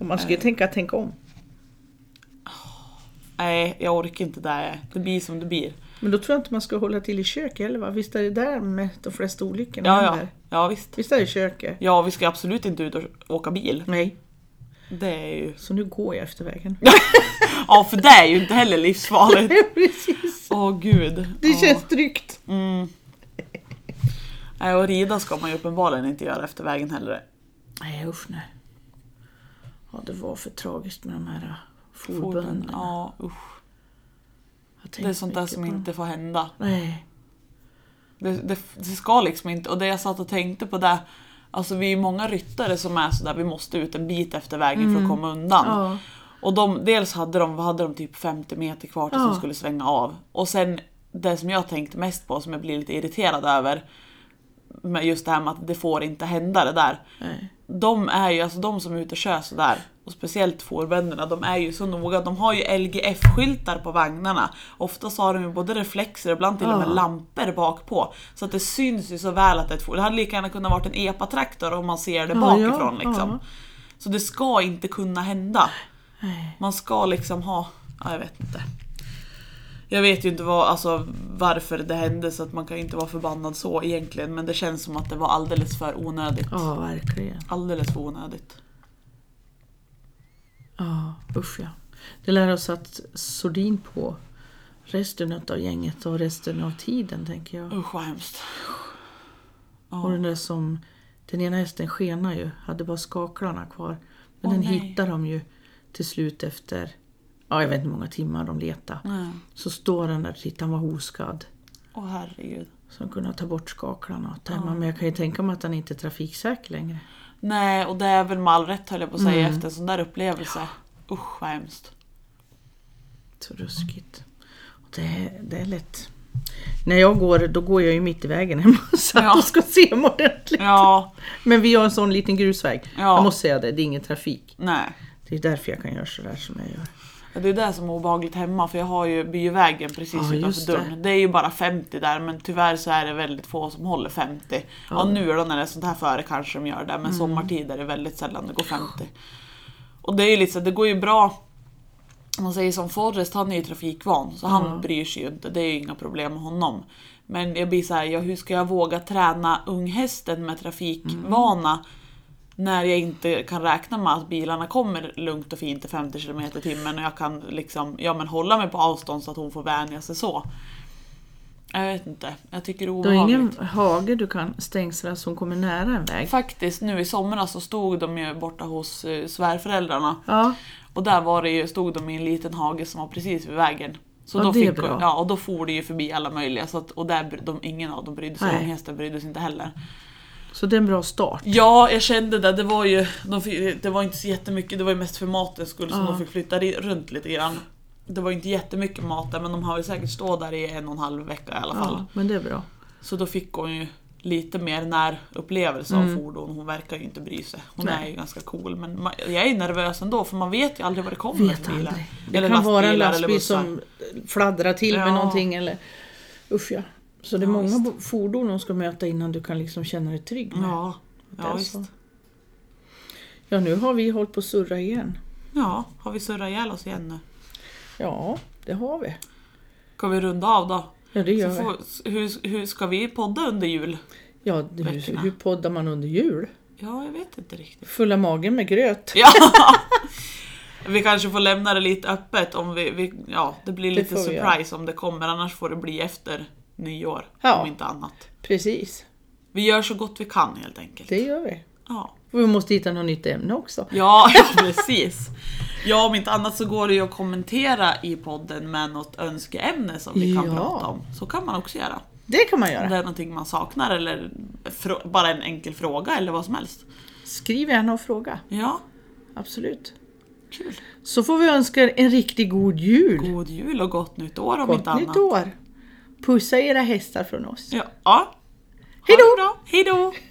Speaker 2: Och man ska
Speaker 1: Äh.
Speaker 2: ju tänka, tänka om.
Speaker 1: Nej, jag orkar inte det. Det blir som det blir.
Speaker 2: Men då tror jag inte man ska hålla till i köket heller va? Visst är det där med de flesta olyckorna
Speaker 1: Ja, ja.
Speaker 2: händer?
Speaker 1: ja visst.
Speaker 2: Visst är det i köket?
Speaker 1: Ja, vi ska absolut inte ut och åka bil.
Speaker 2: Nej,
Speaker 1: Det är ju...
Speaker 2: så nu går jag efter vägen.
Speaker 1: Ja, för det är ju inte heller livsfarligt.
Speaker 2: precis.
Speaker 1: Åh gud.
Speaker 2: Det
Speaker 1: Ja.
Speaker 2: känns tryggt.
Speaker 1: Mm. Nej, och rida ska man ju uppenbarligen inte göra efter vägen heller.
Speaker 2: Nej usch nej. Ja det var för tragiskt med de här äh,
Speaker 1: Fordon.
Speaker 2: forbönderna.
Speaker 1: Ja, usch.
Speaker 2: Jag
Speaker 1: Det är
Speaker 2: tänkte
Speaker 1: sånt där
Speaker 2: mycket
Speaker 1: som
Speaker 2: på dem.
Speaker 1: inte får hända.
Speaker 2: Nej.
Speaker 1: Det, det, det ska liksom inte, och det jag satt och tänkte på där, alltså vi är många ryttare som är sådär, vi måste ut en bit efter vägen för att komma undan.
Speaker 2: Mm. Ja.
Speaker 1: Och de, dels hade de, vad hade de typ 50 meter kvar tills de
Speaker 2: Ja.
Speaker 1: skulle svänga av. Och sen det som jag tänkte mest på, som jag blir lite irriterad över, med just det här med att det får inte hända det där.
Speaker 2: Nej.
Speaker 1: De är ju, alltså de som är ute och kör sådär, och speciellt fårbönderna, de är ju så noga. De har ju LGF-skyltar på vagnarna. Oftast har de ju både reflexer och ibland till och med
Speaker 2: Ja.
Speaker 1: lampor bak på. Så att det syns ju så väl att det är ett fordon. Det hade lika gärna kunnat vara en epatraktor om man ser det
Speaker 2: Ja,
Speaker 1: bakifrån
Speaker 2: ja,
Speaker 1: liksom.
Speaker 2: ja.
Speaker 1: Så det ska inte kunna hända.
Speaker 2: Nej.
Speaker 1: Man ska liksom ha, ja, jag vet inte. Jag vet ju inte vad, alltså, varför det hände så att man kan ju inte vara förbannad så egentligen. Men det känns som att det var alldeles för onödigt.
Speaker 2: Ja verkligen.
Speaker 1: Alldeles för onödigt.
Speaker 2: Ja usch ja. Det lär oss att sordin på resten av gänget och resten av tiden tänker jag.
Speaker 1: Usch vad hemskt.
Speaker 2: Och den där som, den ena hästen skenar ju, hade bara skaklarna kvar. Men
Speaker 1: Åh,
Speaker 2: den
Speaker 1: nej.
Speaker 2: hittar de ju till slut efter, ja jag vet inte hur många timmar de letar. Så står den där, titta han var oskadd.
Speaker 1: Åh herregud.
Speaker 2: Så de kunde ta bort skaklarna och tämma. Men jag kan ju tänka mig att den inte är trafiksäker längre.
Speaker 1: Nej och det är väl med all rätt höll jag på att säga efter en sån där upplevelse. Usch vad hemskt.
Speaker 2: Så ruskigt. Och det, det är lätt. När jag går, då går jag ju mitt i vägen hemma så att
Speaker 1: Ja.
Speaker 2: de ska se mig ordentligt.
Speaker 1: Ja,
Speaker 2: Men vi har en sån liten grusväg.
Speaker 1: Ja.
Speaker 2: Jag måste säga det, det är ingen trafik.
Speaker 1: nej.
Speaker 2: Det är därför jag kan göra sådär som jag gör.
Speaker 1: Ja, Det är det som är obehagligt hemma för jag har ju byvägen precis
Speaker 2: Ja,
Speaker 1: utanför
Speaker 2: just det.
Speaker 1: dörren. Det. är ju bara 50 där men tyvärr så är det väldigt få som håller 50. Ja, nu då när det är sånt här före kanske de gör det men sommartid är det väldigt sällan det går 50. Och det är ju lite så här, det går ju bra om man säger som Forrest, han är ju trafikvan så han bryr sig ju inte. Det är ju inga problem med honom. Men jag blir så här, ja, hur ska jag våga träna unghästen med trafikvana
Speaker 2: Mm.
Speaker 1: när jag inte kan räkna med att bilarna kommer lugnt och fint i 50 km i timmen och jag kan liksom, ja, men hålla mig på avstånd så att hon får vänja sig så. Jag vet inte, jag tycker det är
Speaker 2: Du har
Speaker 1: obehagligt.
Speaker 2: ingen hage du kan stängsla som kommer nära en väg.
Speaker 1: Faktiskt nu i somras så stod de ju borta hos eh, svärföräldrarna
Speaker 2: Ja,
Speaker 1: Och där var det ju, stod de i en liten hage som var precis vid vägen. Så
Speaker 2: Ja,
Speaker 1: då
Speaker 2: det är
Speaker 1: fick
Speaker 2: bra.
Speaker 1: ja, och då for det ju förbi alla möjliga. Så att, och där, bry- de, ingen av dem brydde sig,
Speaker 2: Nej.
Speaker 1: och hästen brydde sig inte heller.
Speaker 2: så det är en bra start.
Speaker 1: Ja, jag kände det. Det var ju de fick, det var inte så jättemycket, det var ju mest för matens skull som
Speaker 2: Ja.
Speaker 1: de fick flytta ri- runt lite grann. Det var ju inte jättemycket mat där men de har väl säkert stå där i en och en halv vecka i alla fall.
Speaker 2: Ja, men det är bra.
Speaker 1: Så då fick hon ju lite mer närupplevelse av fordon. Hon verkar ju inte bry sig. Hon
Speaker 2: Mm. Nej.
Speaker 1: är ju ganska cool men ma- jag är ju nervös ändå för man vet ju aldrig vad det kommer
Speaker 2: Vet
Speaker 1: för bilar.
Speaker 2: aldrig.
Speaker 1: Eller
Speaker 2: Det kan vara en
Speaker 1: lastbilar eller
Speaker 2: lastbil
Speaker 1: bussar.
Speaker 2: som fladdrar till
Speaker 1: Ja.
Speaker 2: med någonting eller... Usch ja. Så det är
Speaker 1: Ja,
Speaker 2: många
Speaker 1: visst.
Speaker 2: bo- fordon de ska möta innan du kan liksom känna dig trygg med.
Speaker 1: Ja,
Speaker 2: Det
Speaker 1: ja
Speaker 2: är
Speaker 1: visst.
Speaker 2: så. Ja, nu har vi hållit på att surra igen.
Speaker 1: Ja, har vi surrat ihjäl oss igen nu?
Speaker 2: Ja, det har vi.
Speaker 1: Ska vi runda av då?
Speaker 2: Ja, det gör
Speaker 1: Så
Speaker 2: vi.
Speaker 1: får, s- hur, hur ska vi podda under jul?
Speaker 2: Ja, det- hur,
Speaker 1: Veckorna.
Speaker 2: hur poddar man under jul?
Speaker 1: Ja, jag vet inte riktigt.
Speaker 2: Fulla magen med gröt.
Speaker 1: Ja. Vi kanske får lämna det lite öppet om vi, vi ja det blir
Speaker 2: Det
Speaker 1: lite
Speaker 2: får vi göra.
Speaker 1: surprise om det kommer annars får det bli efter nyår
Speaker 2: Ja.
Speaker 1: om inte annat.
Speaker 2: Precis,
Speaker 1: Vi gör så gott vi kan helt enkelt.
Speaker 2: det gör vi.
Speaker 1: Ja.
Speaker 2: Och vi måste hitta något nytt ämne också.
Speaker 1: Ja, ja, precis. Ja, om inte annat så går det ju att kommentera i podden med något önskeämne som vi kan
Speaker 2: Ja.
Speaker 1: prata om. Så kan man också göra.
Speaker 2: Det kan man
Speaker 1: Om
Speaker 2: göra.
Speaker 1: det är någonting man saknar eller frå- bara en enkel fråga eller vad som helst.
Speaker 2: Skriv gärna och fråga.
Speaker 1: Ja,
Speaker 2: Absolut.
Speaker 1: kul.
Speaker 2: Så får vi önska er en riktigt god jul.
Speaker 1: God jul och gott nytt år om
Speaker 2: Gott
Speaker 1: inte annat.
Speaker 2: nytt år. Pussa era hästar från oss.
Speaker 1: Ja. ja. Ha
Speaker 2: Hejdå!
Speaker 1: det bra. Hejdå!